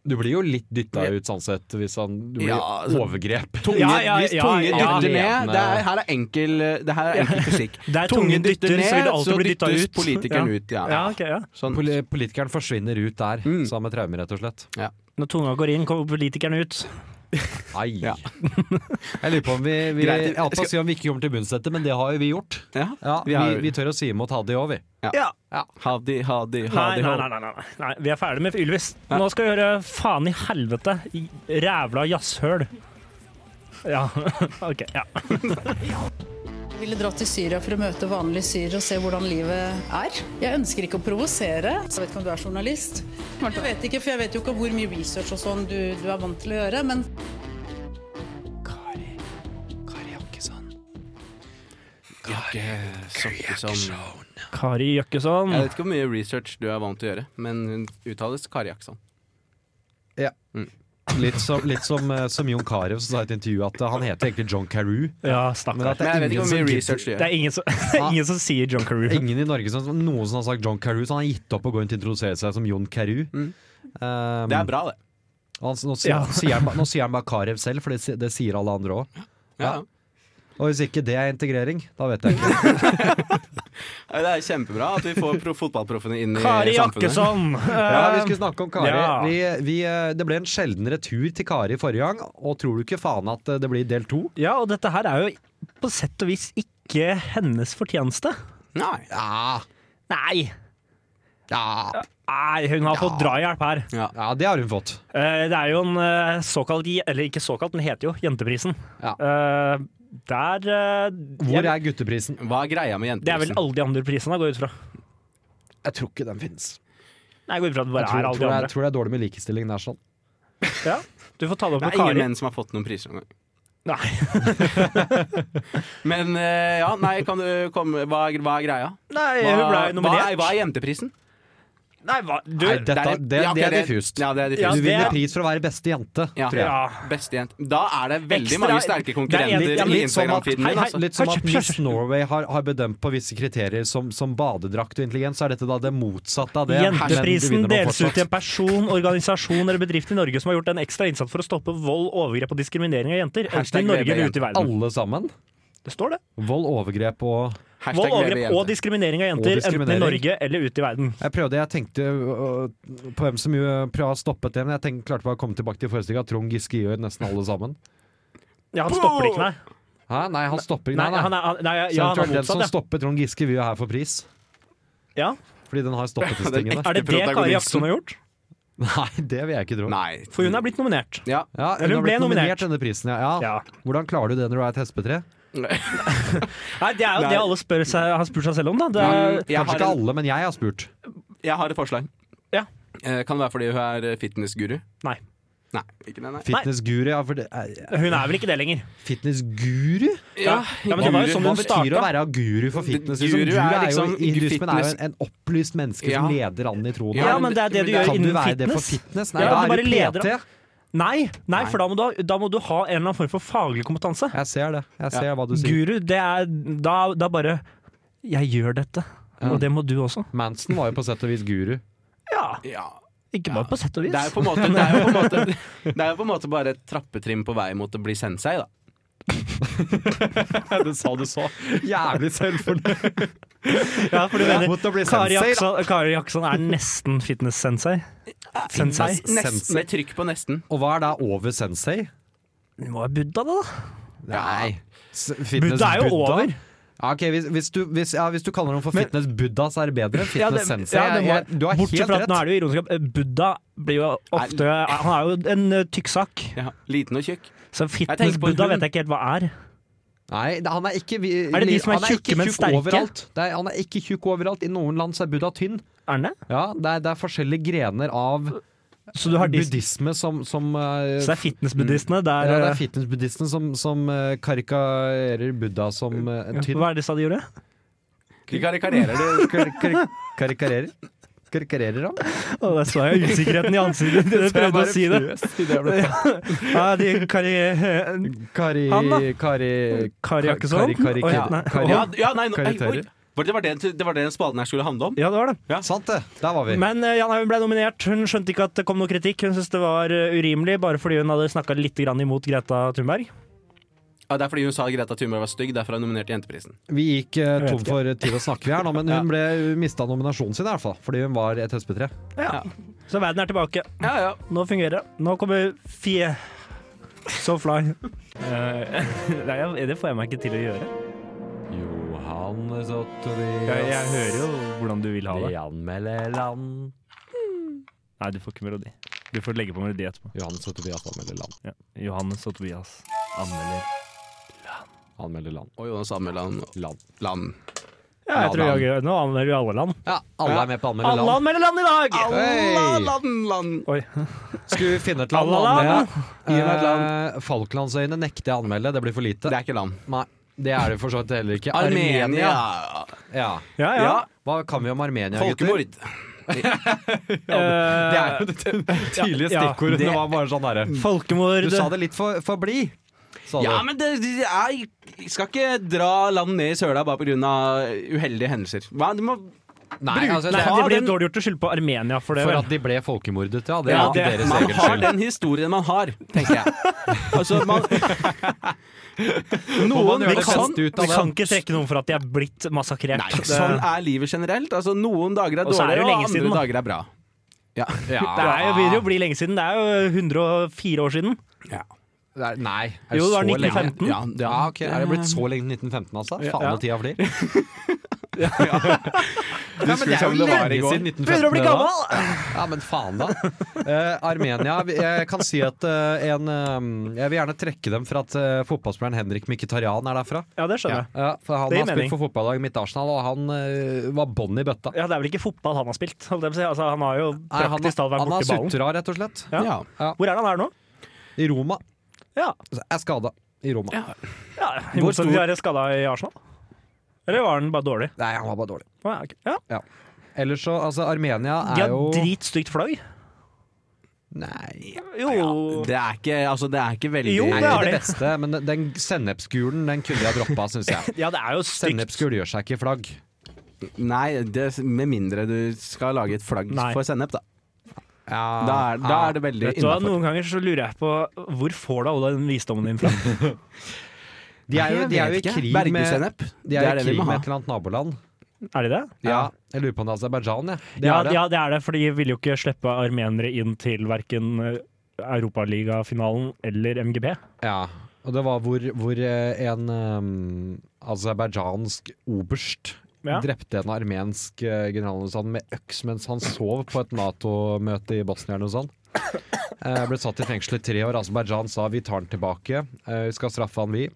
Speaker 4: Du blir jo litt dytta ut sånn sett hvis han du blir
Speaker 5: Ja, altså-
Speaker 4: overgrep.
Speaker 5: Tunge,
Speaker 6: Ja, ja,
Speaker 5: hvis
Speaker 6: ja,
Speaker 5: tunge
Speaker 6: ja,
Speaker 5: dytter
Speaker 4: ja.
Speaker 5: ned det er, Her er enkel, eh, det her er enkel fysikk.
Speaker 6: Der tungen dytter, så vil det alltid bli dytta
Speaker 5: dyttes
Speaker 6: ut.
Speaker 5: politikeren
Speaker 6: Ja.
Speaker 5: ut. Ja.
Speaker 6: Ja, ok, ja.
Speaker 5: Sånn.
Speaker 4: Poli- Politikeren forsvinner ut der,
Speaker 5: Mm.
Speaker 4: sammen med traumer, rett og slett.
Speaker 6: Når tunga går inn, kommer politikerne ut.
Speaker 4: Ai.
Speaker 5: Ja.
Speaker 4: Jeg lurer på om vi, vi
Speaker 5: Greit,
Speaker 4: Jeg holdt på å si om vi ikke kommer til bunns i dette, men det har jo vi gjort.
Speaker 5: Ja.
Speaker 4: Ja,
Speaker 5: Vi
Speaker 4: vi,
Speaker 5: har-
Speaker 4: vi tør å si imot Hadi òg, vi.
Speaker 5: Ha de, ha de, ha
Speaker 6: Nei,
Speaker 5: de,
Speaker 6: nei,
Speaker 5: hold.
Speaker 6: nei, nei, nei, nei. Vi er ferdig med Ylvis. Nå skal vi gjøre faen i helvete. i Rævla jazzhøl. Ja, OK. ja
Speaker 7: Jeg ville dratt til Syria for å møte vanlige syrere og se hvordan livet er. Jeg ønsker ikke å provosere. Jeg vet ikke om du er journalist. Jeg vet ikke, for jeg vet jo ikke hvor mye research og sånn du, du er vant til å gjøre, men
Speaker 5: Sånn.
Speaker 6: Kari Jøkkesson.
Speaker 5: Jeg vet ikke hvor mye research du er vant til å gjøre, men hun uttales Kari Jaksson.
Speaker 4: Litt som, litt som, eh, som Jon Carew som sa i et intervju at eh, han heter egentlig John Carew. Men
Speaker 6: Ja,
Speaker 4: at
Speaker 6: stakkar.
Speaker 4: det
Speaker 5: Men jeg
Speaker 4: er
Speaker 5: vet ikke
Speaker 4: ingen
Speaker 5: hvor
Speaker 4: som
Speaker 5: mye
Speaker 4: gidder-
Speaker 5: research
Speaker 6: Det
Speaker 5: du gjør.
Speaker 6: er ingen som, det er ingen som sier John Carew.
Speaker 4: Ingen i Norge som noen som har sagt John Carew, så han har gitt opp å gå rundt og introdusere seg som Jon Carew.
Speaker 5: Mm.
Speaker 4: Um,
Speaker 5: Det er bra, det.
Speaker 4: han, nå, sier,
Speaker 6: Ja.
Speaker 4: sier han, ba- nå sier han bare Carew selv, for det, si- det sier alle andre òg. Ja.
Speaker 5: Ja.
Speaker 4: Og hvis ikke det er integrering, da vet jeg ikke.
Speaker 5: Ja, Det er kjempebra at vi får pro fotballproffene inn i
Speaker 6: Kari Eh,
Speaker 5: samfunnet.
Speaker 6: Jakkesson!
Speaker 4: Ja, vi skulle snakke om Kari.
Speaker 6: Ja.
Speaker 4: Vi, vi, eh, det ble en sjelden retur til Kari forrige gang, og tror du ikke faen at eh, det blir del to?
Speaker 6: Ja, og dette her er jo på sett og vis ikke hennes fortjeneste.
Speaker 5: Nei.
Speaker 4: Ja,
Speaker 6: Nei!
Speaker 4: ja.
Speaker 6: Nei, hun har fått drahjelp her.
Speaker 4: ja det har hun fått.
Speaker 6: Eh, Det er jo en eh, såkalt je- Eller ikke såkalt, den heter jo Jenteprisen.
Speaker 4: Ja.
Speaker 6: Eh, Der eh,
Speaker 4: Hvor
Speaker 6: jeg-
Speaker 4: er gutteprisen?
Speaker 5: Hva er greia med liksom?
Speaker 6: Det er vel
Speaker 5: jenteprisen?
Speaker 6: alle de andre prisene, går jeg ut fra.
Speaker 4: Jeg tror ikke den finnes.
Speaker 6: Nei, jeg går ut fra at det bare
Speaker 4: Jeg tror,
Speaker 6: er alle
Speaker 4: tror,
Speaker 6: de
Speaker 4: jeg,
Speaker 6: andre.
Speaker 4: tror det er dårlig med likestilling der. sånn
Speaker 6: Ja. Du får ta det opp
Speaker 5: Det
Speaker 6: med
Speaker 5: er ingen
Speaker 6: Kari.
Speaker 5: menn som har fått noen priser noen gang.
Speaker 6: Nei.
Speaker 5: Men eh, ja, nei, kan du komme Hva, er- hva er greia?
Speaker 6: Nei,
Speaker 5: Hva,
Speaker 6: hun ble
Speaker 5: hva,
Speaker 6: nominert.
Speaker 5: er, hva er jenteprisen?
Speaker 6: Nei, hva Du,
Speaker 4: Nei, dette,
Speaker 5: Der-
Speaker 4: det,
Speaker 5: ja,
Speaker 4: det
Speaker 5: ok,
Speaker 4: er diffust.
Speaker 5: Ja, det er
Speaker 6: Ja,
Speaker 5: diffust.
Speaker 4: Du vinner
Speaker 6: det-
Speaker 4: pris for å være beste jente,
Speaker 5: Ja.
Speaker 4: tror jeg.
Speaker 6: ja.
Speaker 5: Beste jente. Da er det veldig
Speaker 6: Ekstra-
Speaker 5: mange sterke
Speaker 6: Det er
Speaker 5: konkurrenter
Speaker 6: litt- sånn
Speaker 5: i
Speaker 4: Litt som at,
Speaker 5: Instagram-feeden
Speaker 4: hei,
Speaker 5: din.
Speaker 4: hei,
Speaker 5: Altså.
Speaker 4: litt som
Speaker 6: Hør,
Speaker 4: at
Speaker 6: hør,
Speaker 4: Miss
Speaker 6: hør.
Speaker 4: Norway har, har bedømt på visse kriterier som, som badedrakt og intelligens, så er dette da det motsatte av det.
Speaker 6: Jenteprisen
Speaker 4: Men du vinner nå
Speaker 6: deles ut
Speaker 4: fortsatt.
Speaker 6: til en person, organisasjon eller bedrift i Norge som har gjort en ekstra innsats for å stoppe vold, overgrep og diskriminering av jenter, enten
Speaker 5: Hashtag
Speaker 6: i Norge
Speaker 5: VB
Speaker 6: eller ute i verden.
Speaker 4: Alle sammen.
Speaker 6: Det står det.
Speaker 4: Vold, overgrep og
Speaker 5: Hashtag
Speaker 6: Vold, overgrep og
Speaker 5: VBjente.
Speaker 6: diskriminering
Speaker 4: Og
Speaker 6: av jenter, enten i
Speaker 4: diskriminering.
Speaker 6: Norge eller ute i verden.
Speaker 4: Jeg prøvde, jeg tenkte øh, på hvem som jo prøvde å ha stoppet det, men jeg tenkte, klarte bare å komme tilbake til forestillinga. Trond Giske gjør nesten alle sammen.
Speaker 6: Ja, han stopper det ikke, nei.
Speaker 4: Hæ? Nei, han stopper
Speaker 6: Nei,
Speaker 4: Nei, nei.
Speaker 6: han er, han, nei ja,
Speaker 4: Så
Speaker 6: han er
Speaker 4: eventuelt den som
Speaker 6: motsatt,
Speaker 4: stopper Trond Giske, vil jo her få pris.
Speaker 6: ja. ja.
Speaker 4: Fordi den har stoppet disse
Speaker 5: Det er
Speaker 4: tingene.
Speaker 6: Er det det Kari Jaksson har gjort?
Speaker 4: Nei, det vil jeg ikke tro.
Speaker 5: Nei.
Speaker 6: For hun er blitt nominert.
Speaker 5: Ja.
Speaker 4: Ja,
Speaker 6: Eller
Speaker 4: hun har
Speaker 6: ble
Speaker 4: blitt nominert
Speaker 6: nominert.
Speaker 4: denne prisen, ja. ja.
Speaker 6: Ja.
Speaker 4: Hvordan klarer du det når du er et hespetre?
Speaker 6: Nei, Det er jo
Speaker 5: Nei.
Speaker 6: det alle spør seg, har spurt seg selv om, da. Det
Speaker 5: Men
Speaker 6: er,
Speaker 5: jeg,
Speaker 4: Kanskje
Speaker 5: har
Speaker 4: ikke
Speaker 5: en,
Speaker 4: alle, men jeg har spurt.
Speaker 5: jeg har et forslag.
Speaker 6: Ja.
Speaker 5: Eh, Kan det være fordi hun er fitnessguru?
Speaker 6: Nei.
Speaker 5: Nei, ikke det, nei.
Speaker 4: Fitnessguru, ja, for det er
Speaker 6: hun er vel ikke det lenger.
Speaker 4: Fitnessguru?
Speaker 5: Ja,
Speaker 6: Ja, men det var jo
Speaker 5: guru.
Speaker 6: sånn
Speaker 4: Hva
Speaker 6: hun
Speaker 4: betyr å
Speaker 6: starta.
Speaker 4: være guru for fitness? Liksom?
Speaker 5: Guru
Speaker 4: Guru
Speaker 5: er
Speaker 4: er jo,
Speaker 5: liksom
Speaker 4: i- hindusmen er jo
Speaker 5: fitness-
Speaker 4: en, en opplyst menneske som
Speaker 5: Ja.
Speaker 4: leder an i troen.
Speaker 5: Ja,
Speaker 6: Ja, men det er det du gjør
Speaker 4: Kan du
Speaker 6: innen
Speaker 4: være det for
Speaker 6: fitness.
Speaker 4: fitness? Nei,
Speaker 6: Ja,
Speaker 4: da
Speaker 6: du
Speaker 4: er du
Speaker 6: bare
Speaker 4: PT.
Speaker 6: Nei, nei, for da må, du, ha- da må du ha en eller annen form for faglig kompetanse.
Speaker 4: Jeg ser det. Jeg ser hva du sier.
Speaker 6: Guru, det er da, da bare Jeg gjør dette, og det må du også.
Speaker 4: Manson var jo på sett og vis guru.
Speaker 6: Ja,
Speaker 5: Ja.
Speaker 6: Ikke bare på sett og vis.
Speaker 5: Det er jo på en måte, det er jo på en måte, det er jo på en måte bare et trappetrim på vei mot å bli sensei, da.
Speaker 4: det sa du så jævlig selvfornøyd.
Speaker 6: ja, for du mener
Speaker 4: Mot å bli
Speaker 6: Kari
Speaker 4: sensei, da.
Speaker 6: Jaksson, Kari Jaksson er nesten fitness-sensei. Sensei?
Speaker 5: Nesten,
Speaker 4: Sensei.
Speaker 5: med trykk på nesten.
Speaker 4: Og hva er da over sensei?
Speaker 6: Hun må være buddha, da. da.
Speaker 4: Nei. S- Fitness
Speaker 6: Buddha er jo
Speaker 4: Buddha?
Speaker 6: over.
Speaker 4: Ja, ok, hvis, hvis, du, hvis, ja, hvis du kaller noen for fitness Buddha, så er det bedre. Fitness
Speaker 6: Ja, det-
Speaker 4: sensei.
Speaker 6: ja, det må-
Speaker 4: jeg- du har
Speaker 6: bortsett
Speaker 4: helt
Speaker 6: fra at
Speaker 4: rett.
Speaker 6: nå er det jo ironisk at eh, Buddha blir jo ofte Han er jo en eh, tykksak.
Speaker 5: Ja. Liten og tjukk.
Speaker 6: Så
Speaker 5: tenker på
Speaker 6: fitness-Buddha
Speaker 5: hun.
Speaker 6: vet jeg ikke helt hva er.
Speaker 4: Nei, det- han er ikke vi-
Speaker 6: Er det de som er
Speaker 4: han ikke
Speaker 6: tjukke, men
Speaker 4: tjukk
Speaker 6: sterke?
Speaker 4: Overalt. Det er, han er ikke tjukk overalt. I noen land så er Buddha tynn.
Speaker 6: Er den det?
Speaker 4: Ja, det er, det er forskjellige grener av
Speaker 6: Så du har de, så
Speaker 4: buddhisme som, som eh,
Speaker 6: det er fitness-buddhistene? eh, Det
Speaker 4: ja,
Speaker 6: er,
Speaker 4: det er fitness-buddhistene som, som eh, karikarerer Buddha som eh, en
Speaker 6: eh,
Speaker 4: tynn
Speaker 6: Hva er det sa de gjorde?
Speaker 5: De karikarerer det.
Speaker 4: Kar kar karikarerer? Karikarerer han?
Speaker 6: Å, der så jeg usikkerheten i ansiktet ditt. Jeg prøvde å si det. Ja, de eh, kari...
Speaker 4: Kari...
Speaker 6: Han da?
Speaker 4: Kari...
Speaker 6: Kari Jakkesson?
Speaker 4: Kari- Kari-
Speaker 6: Oi,
Speaker 5: Ja,
Speaker 6: nei.
Speaker 5: ja, ja nei, nå- ei,
Speaker 4: Karikarer.
Speaker 5: oi. Var det, var det, det var det den spalten her skulle handle om?
Speaker 6: Ja, det var det.
Speaker 4: Sant det! Der var vi.
Speaker 6: Men eh, ja, nei, hun ble nominert. Hun skjønte ikke at det kom noe kritikk. Hun syntes det var eh, urimelig, bare fordi hun hadde snakka litt grann imot Greta Thunberg.
Speaker 5: Ja, det er fordi hun sa Greta Thunberg var stygg, derfor er hun nominert til Jenteprisen.
Speaker 4: Vi gikk eh,
Speaker 6: vet
Speaker 4: tom
Speaker 6: ikke.
Speaker 4: for tid å snakke, vi her nå, men
Speaker 5: Ja.
Speaker 4: hun ble mista nominasjonen sin, i hvert fall. Fordi hun var et SP3.
Speaker 6: Så verden er tilbake.
Speaker 5: Ja, ja.
Speaker 6: Nå fungerer det. Nå kommer Fie. So fly. Eh, Nei, jeg- det får jeg meg ikke til å gjøre.
Speaker 4: Johannes og Tobias
Speaker 6: hvordan du vil
Speaker 4: Vi anmelder land.
Speaker 6: Nei, du får ikke melodi. Du får legge på melodi etterpå.
Speaker 4: altså Johannes og Tobias anmelder land.
Speaker 6: Johannes og Tobias anmelder
Speaker 4: Anmelder land.
Speaker 5: Og Jonas Anmeland.
Speaker 4: Land.
Speaker 5: Land.
Speaker 6: Ja, jeg tror jeg, nå anmelder vi alle land.
Speaker 4: Ja, alle er med på anmelder
Speaker 6: Alle
Speaker 4: land.
Speaker 6: anmelder land i dag!
Speaker 4: Hey!
Speaker 5: land, land.
Speaker 6: Oi.
Speaker 4: Skulle vi finne et land å
Speaker 6: Alle land.
Speaker 4: anmelde?
Speaker 5: Gi meg et
Speaker 4: Eh, Falklandsøyene nekter jeg å anmelde, det blir for lite.
Speaker 5: Det er ikke land.
Speaker 4: Nei, det er det for så vidt heller ikke.
Speaker 5: Armenia.
Speaker 4: Ja.
Speaker 6: Ja, ja.
Speaker 5: Ja.
Speaker 4: Hva kan vi om Armenia, gutter?
Speaker 5: Folkemord.
Speaker 6: eh,
Speaker 4: Det er jo det tidlige
Speaker 6: Ja, ja.
Speaker 4: stikkordet. Det var bare sånn derre
Speaker 6: Folkemord.
Speaker 4: Du sa det litt for, for blid. sa du.
Speaker 5: Ja, men det, det er, jeg skal ikke dra land ned i søla bare pga. uheldige hendelser. Hva, du må,
Speaker 4: Nei, altså,
Speaker 6: Nei,
Speaker 4: det
Speaker 6: det
Speaker 4: er
Speaker 6: blir dårlig gjort å skylde på Armenia for det.
Speaker 4: for
Speaker 6: vel?
Speaker 4: at de ble folkemordet, ja. Det er
Speaker 6: Ja,
Speaker 4: ikke
Speaker 6: det-
Speaker 4: deres
Speaker 5: man
Speaker 4: egen
Speaker 5: har
Speaker 4: skyld.
Speaker 5: den historien man har, tenker jeg. Altså, man
Speaker 4: man
Speaker 5: Noen
Speaker 4: gjøre
Speaker 6: Vi
Speaker 4: det
Speaker 6: kan,
Speaker 4: beste ut av
Speaker 6: vi kan
Speaker 4: det.
Speaker 6: ikke trekke noen for at de er blitt massakrert.
Speaker 5: Nei,
Speaker 6: Det-
Speaker 5: sånn er livet generelt. Altså, noen dager er
Speaker 6: Og så er det jo
Speaker 5: dårlige, og
Speaker 6: lenge
Speaker 5: andre
Speaker 6: siden, da.
Speaker 5: dager er bra. Ja.
Speaker 6: det er jo, begynner jo å bli lenge siden. Det er jo 104 år siden.
Speaker 4: Det er- Nei. er
Speaker 6: Jo, det var
Speaker 4: så lenge.
Speaker 6: 1915.
Speaker 5: Ja,
Speaker 4: Ja, ok, Er det blitt så lenge 1915, altså? Faen,
Speaker 6: Ja.
Speaker 4: når tida flyr. ja,
Speaker 5: Du
Speaker 4: men det er jo
Speaker 5: det var i
Speaker 4: lenge
Speaker 5: går.
Speaker 4: siden 1915.
Speaker 6: Begynner å bli
Speaker 4: det da.
Speaker 6: gammel!
Speaker 4: Ja, men faen da. Eh, Armenia. vi- Jeg kan si at eh, en eh, Jeg vil gjerne trekke dem for at eh, fotballspilleren Henrik Mkhitaryan er derfra.
Speaker 6: Ja, det skjønner jeg.
Speaker 4: Ja, for han
Speaker 6: Det gir
Speaker 4: har spilt
Speaker 6: mening.
Speaker 4: for fotballaget mitt Arsenal, og han eh, var bånn i bøtta.
Speaker 6: Ja, Det er vel ikke fotball han har spilt? holdt jeg på å si. Altså, han har jo
Speaker 4: Nei, han,
Speaker 6: praktisk talt vært
Speaker 4: han har
Speaker 6: borti ballen.
Speaker 4: sutra, rett og slett.
Speaker 6: Ja.
Speaker 5: Ja.
Speaker 6: Hvor er han her nå?
Speaker 4: I Roma.
Speaker 6: Ja,
Speaker 4: Så Jeg er skada i Roma.
Speaker 6: ja I
Speaker 5: Hvor
Speaker 6: motsetning til
Speaker 5: stor-
Speaker 6: å være skada i Arsenal. Eller var han bare dårlig?
Speaker 4: Nei, han var bare dårlig.
Speaker 6: Å, Ja, ok. ja.
Speaker 4: Ellers så Altså, Armenia
Speaker 6: De
Speaker 4: er
Speaker 6: har
Speaker 4: jo
Speaker 6: dritstygt flagg.
Speaker 4: Nei,
Speaker 6: Jo
Speaker 5: Det er ikke, altså, det er ikke veldig
Speaker 6: Jo,
Speaker 4: det er
Speaker 6: det
Speaker 4: ikke
Speaker 6: har
Speaker 4: det
Speaker 6: de.
Speaker 4: beste, men den- den sennepsgulen den kunne de ha droppa, syns jeg.
Speaker 6: Ja, det er jo stygt.
Speaker 4: Sennepsgul gjør seg ikke i flagg.
Speaker 5: Nei, det, med mindre du skal lage et flagg
Speaker 6: Nei. Ah,
Speaker 5: for sennep, da.
Speaker 4: Ja,
Speaker 5: Da er, da er det veldig
Speaker 6: Vet du hva,
Speaker 5: innafor.
Speaker 6: Noen ganger så lurer jeg på hvor får du all den visdommen din fra?
Speaker 4: de er jo, de er jo i krig med
Speaker 5: Bergesennep.
Speaker 4: De er, i krig med et eller annet naboland.
Speaker 6: Er de det?
Speaker 4: Ja, Jeg lurer på om det er Aserbajdsjan, jeg. Det
Speaker 6: ja,
Speaker 4: er det.
Speaker 6: ja, det er det, for de ville jo ikke slippe armenere inn til verken Europaligafinalen eller MGP.
Speaker 4: Ja. Og det var hvor, hvor eh, en um, aserbajdsjansk oberst
Speaker 6: Ja.
Speaker 4: drepte en armensk eh, generalmønstersand med øks mens han sov på et Nato-møte i Bosnia eller noe sånt. Eh, ble satt i fengsel i tre år. Aserbajdsjan sa vi tar han tilbake, eh, vi skal straffe han vi.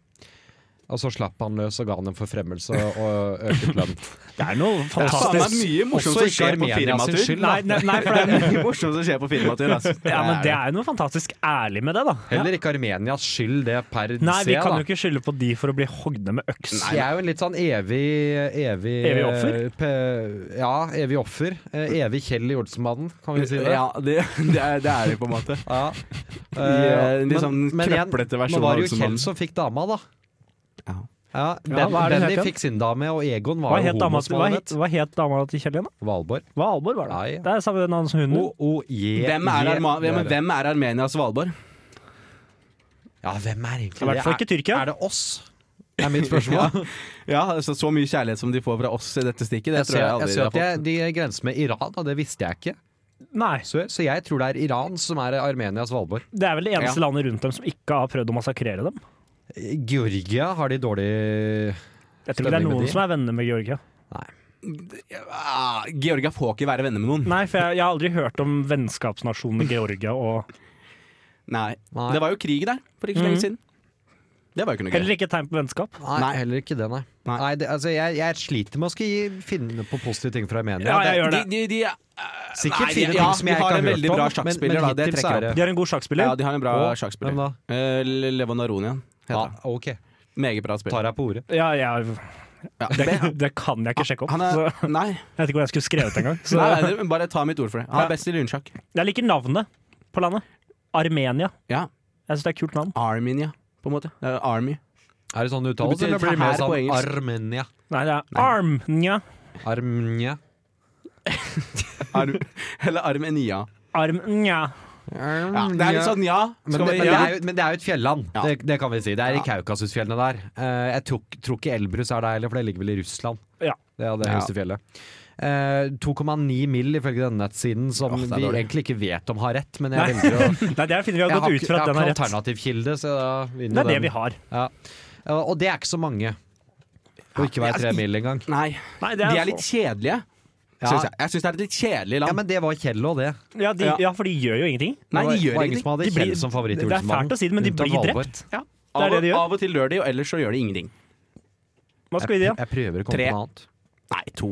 Speaker 4: Og så slapp han løs og ga han en forfremmelse og øket lønn.
Speaker 6: Det er noe
Speaker 5: Faen, det er
Speaker 6: fantastisk.
Speaker 5: mye morsomt
Speaker 4: Også
Speaker 5: som
Speaker 4: ikke
Speaker 5: skjer på
Speaker 4: Armenia sin
Speaker 5: firmatur.
Speaker 4: skyld, da.
Speaker 6: Nei, nei, nei, for
Speaker 5: Det
Speaker 6: det
Speaker 5: er mye morsomt som skjer på firmatur. Altså.
Speaker 6: ja, men det er jo noe fantastisk ærlig med det, da.
Speaker 4: Heller ikke Armenias skyld det per
Speaker 6: Nei,
Speaker 4: se.
Speaker 6: vi kan
Speaker 4: da.
Speaker 6: jo ikke skylde på de for å bli hogde med øks.
Speaker 4: Jeg er jo en litt sånn evig Evig,
Speaker 6: Evig offer?
Speaker 4: eh, Pe, ja, evig offer. Eh, Evig Kjell i Olsenmannen, kan vi si det.
Speaker 5: Ja, det, det, er, det er det på en måte.
Speaker 4: Ja.
Speaker 5: eh,
Speaker 4: Eh,
Speaker 5: litt sånn
Speaker 4: igjen,
Speaker 5: krøplete versjon
Speaker 4: nå var det
Speaker 5: av
Speaker 4: jo Kjell
Speaker 5: Olsenmannen.
Speaker 4: som fikk dama, da.
Speaker 5: Ja.
Speaker 4: Ja, ben,
Speaker 6: Ja, hva er det hun
Speaker 4: Benny
Speaker 6: het igjen?
Speaker 4: fikk sin dame, og Egon
Speaker 6: Hva
Speaker 4: var jo
Speaker 6: het
Speaker 4: homo,
Speaker 6: dama,
Speaker 4: som
Speaker 6: hva
Speaker 4: alle
Speaker 6: het,
Speaker 4: vet.
Speaker 6: hva het dama til Kjell igjen, da?
Speaker 4: Valborg.
Speaker 6: Valborg, var det.
Speaker 4: Nei.
Speaker 6: Det er samme navn som hunden.
Speaker 4: O, o, je,
Speaker 5: Hvem er,
Speaker 4: je,
Speaker 5: Arma, hvem,
Speaker 4: det er det.
Speaker 5: hvem er Armenias Valborg?
Speaker 4: Ja, hvem er egentlig
Speaker 6: I hvert fall ikke Tyrkia.
Speaker 4: Er det oss? Det er mitt spørsmål.
Speaker 5: Ja, altså, Så mye kjærlighet som de får fra oss i dette stikket, det
Speaker 4: jeg,
Speaker 5: tror
Speaker 4: ser,
Speaker 5: jeg
Speaker 4: jeg
Speaker 5: aldri
Speaker 4: ser at
Speaker 5: de har fått.
Speaker 4: jeg, de grenser med Iran, og det visste jeg ikke.
Speaker 6: Nei.
Speaker 4: Så, så jeg tror det er Iran som er Armenias Valborg.
Speaker 6: Det er vel det eneste landet rundt dem som ikke har prøvd å massakrere dem.
Speaker 4: Georgia har de dårlig
Speaker 6: Jeg tror ikke det
Speaker 4: Stemning
Speaker 6: er
Speaker 4: med
Speaker 6: noen
Speaker 4: de.
Speaker 6: som er venner med Georgia.
Speaker 5: Ah, Georgia får ikke være venner med noen.
Speaker 6: Nei, for jeg, jeg har aldri hørt om vennskapsnasjonen Georgia og
Speaker 5: Nei.
Speaker 4: Nei. Mhm.
Speaker 5: Det var jo krig der for ikke så lenge siden. Det var jo ikke noe gøy.
Speaker 6: Heller ikke tegn på vennskap.
Speaker 4: Nei,
Speaker 5: Nei.
Speaker 4: heller ikke det, nei. nei.
Speaker 5: Nei.
Speaker 4: det, altså, jeg, jeg sliter med å skulle finne på positive ting fra Armenia.
Speaker 6: Ja, jeg
Speaker 4: Det er
Speaker 6: gjør det.
Speaker 5: De, de, de, eh,
Speaker 4: Sikkert
Speaker 5: Nei, de-
Speaker 4: fine ting
Speaker 5: ja,
Speaker 4: som
Speaker 5: de
Speaker 4: jeg ikke
Speaker 5: har
Speaker 4: har
Speaker 5: en
Speaker 4: hørt
Speaker 5: veldig
Speaker 4: om,
Speaker 5: bra
Speaker 4: men- men
Speaker 5: sjakkspiller, da, det
Speaker 4: hittil så
Speaker 5: trekker
Speaker 4: er
Speaker 5: opp.
Speaker 6: De har en god sjakkspiller.
Speaker 5: ja, de har en bra
Speaker 4: Å, hvem
Speaker 5: sjakkspiller.
Speaker 4: da?
Speaker 5: Eh, Le- Levanaronian heter
Speaker 4: Ja,
Speaker 5: han.
Speaker 4: ok.
Speaker 5: Meget bra spiller.
Speaker 4: Tar jeg på ordet.
Speaker 6: Ja, jeg-
Speaker 5: Ja.
Speaker 6: det, det kan jeg ikke sjekke opp.
Speaker 5: Han
Speaker 6: så
Speaker 5: er,
Speaker 6: jeg
Speaker 5: nei,
Speaker 6: vet ikke hvor jeg skulle skrevet engang.
Speaker 5: nei,
Speaker 6: Så-
Speaker 5: nei, det- bare ta mitt ord for det. Han
Speaker 6: Ja.
Speaker 5: er best i lynsjakk.
Speaker 6: Jeg liker navnet på landet. Armenia.
Speaker 5: Ja.
Speaker 6: Jeg syns det er et kult navn.
Speaker 5: Armenia, på en måte. Det er Army.
Speaker 4: Er det sånn
Speaker 5: Det
Speaker 4: uttale,
Speaker 5: betyr
Speaker 4: eller blir det mer
Speaker 5: her på
Speaker 4: sånn
Speaker 5: engelsk.
Speaker 4: Armenia?
Speaker 6: Nei, det er Armnia.
Speaker 4: Armenia.
Speaker 5: Ar eller Armenia.
Speaker 6: Armnia.
Speaker 5: Ja, det er litt sånn ja.
Speaker 4: Mm, men
Speaker 5: Skal
Speaker 4: det,
Speaker 5: vi,
Speaker 4: men, det
Speaker 5: ja.
Speaker 4: er jo, men det er jo et fjelland,
Speaker 5: Ja.
Speaker 4: det, det kan vi si. Det er i
Speaker 5: Ja.
Speaker 4: Kaukasusfjellene der. Eh, jeg tok, tror ikke Elbrus er der heller, for det ligger vel i Russland.
Speaker 6: Ja.
Speaker 4: Det er det
Speaker 5: Ja.
Speaker 4: høyeste fjellet. Eh, 2,9 mill. ifølge denne nettsiden, som
Speaker 5: Åh, det er
Speaker 4: vi
Speaker 5: dårlig.
Speaker 4: egentlig ikke vet om har rett, men
Speaker 6: Nei.
Speaker 4: jeg velger å
Speaker 6: Nei, det er fint vi har
Speaker 4: Jeg
Speaker 6: gått
Speaker 4: har
Speaker 6: ut
Speaker 4: ikke-
Speaker 6: fra at
Speaker 4: jeg
Speaker 6: den
Speaker 4: har
Speaker 6: er
Speaker 4: ikke
Speaker 6: rett.
Speaker 4: alternativ kilde, så da vinner
Speaker 6: Det er det
Speaker 4: den.
Speaker 6: vi har.
Speaker 4: Ja. Ja, Og det er ikke så mange. Og ikke være
Speaker 5: Ja,
Speaker 6: altså,
Speaker 4: tre
Speaker 5: i-
Speaker 4: mil engang.
Speaker 5: Nei,
Speaker 6: Nei, det
Speaker 5: de
Speaker 6: er, altså-
Speaker 5: er litt kjedelige.
Speaker 4: Ja.
Speaker 5: Synes jeg jeg syns det er et litt kjedelig
Speaker 4: Ja,
Speaker 5: land.
Speaker 4: men det var Kjell og det.
Speaker 6: ja, de, ja, for de gjør jo ingenting.
Speaker 5: Nei, de
Speaker 4: Det var-
Speaker 5: gjør
Speaker 4: var ingen
Speaker 5: ingenting.
Speaker 4: som hadde
Speaker 6: De blir-
Speaker 4: Kjell som favoritt i
Speaker 6: det er
Speaker 4: Olsenmannen.
Speaker 6: fælt å si det, men de
Speaker 4: unntatt
Speaker 6: blir
Speaker 4: Valborg.
Speaker 6: drept.
Speaker 5: Ja.
Speaker 6: er
Speaker 5: Av,
Speaker 6: det de gjør.
Speaker 5: av og til dør de, og ellers så gjør de ingenting.
Speaker 6: Hva skal vi
Speaker 4: Jeg,
Speaker 6: gi, da?
Speaker 4: jeg prøver å komme
Speaker 5: Tre.
Speaker 4: på noe annet.
Speaker 5: Nei, to.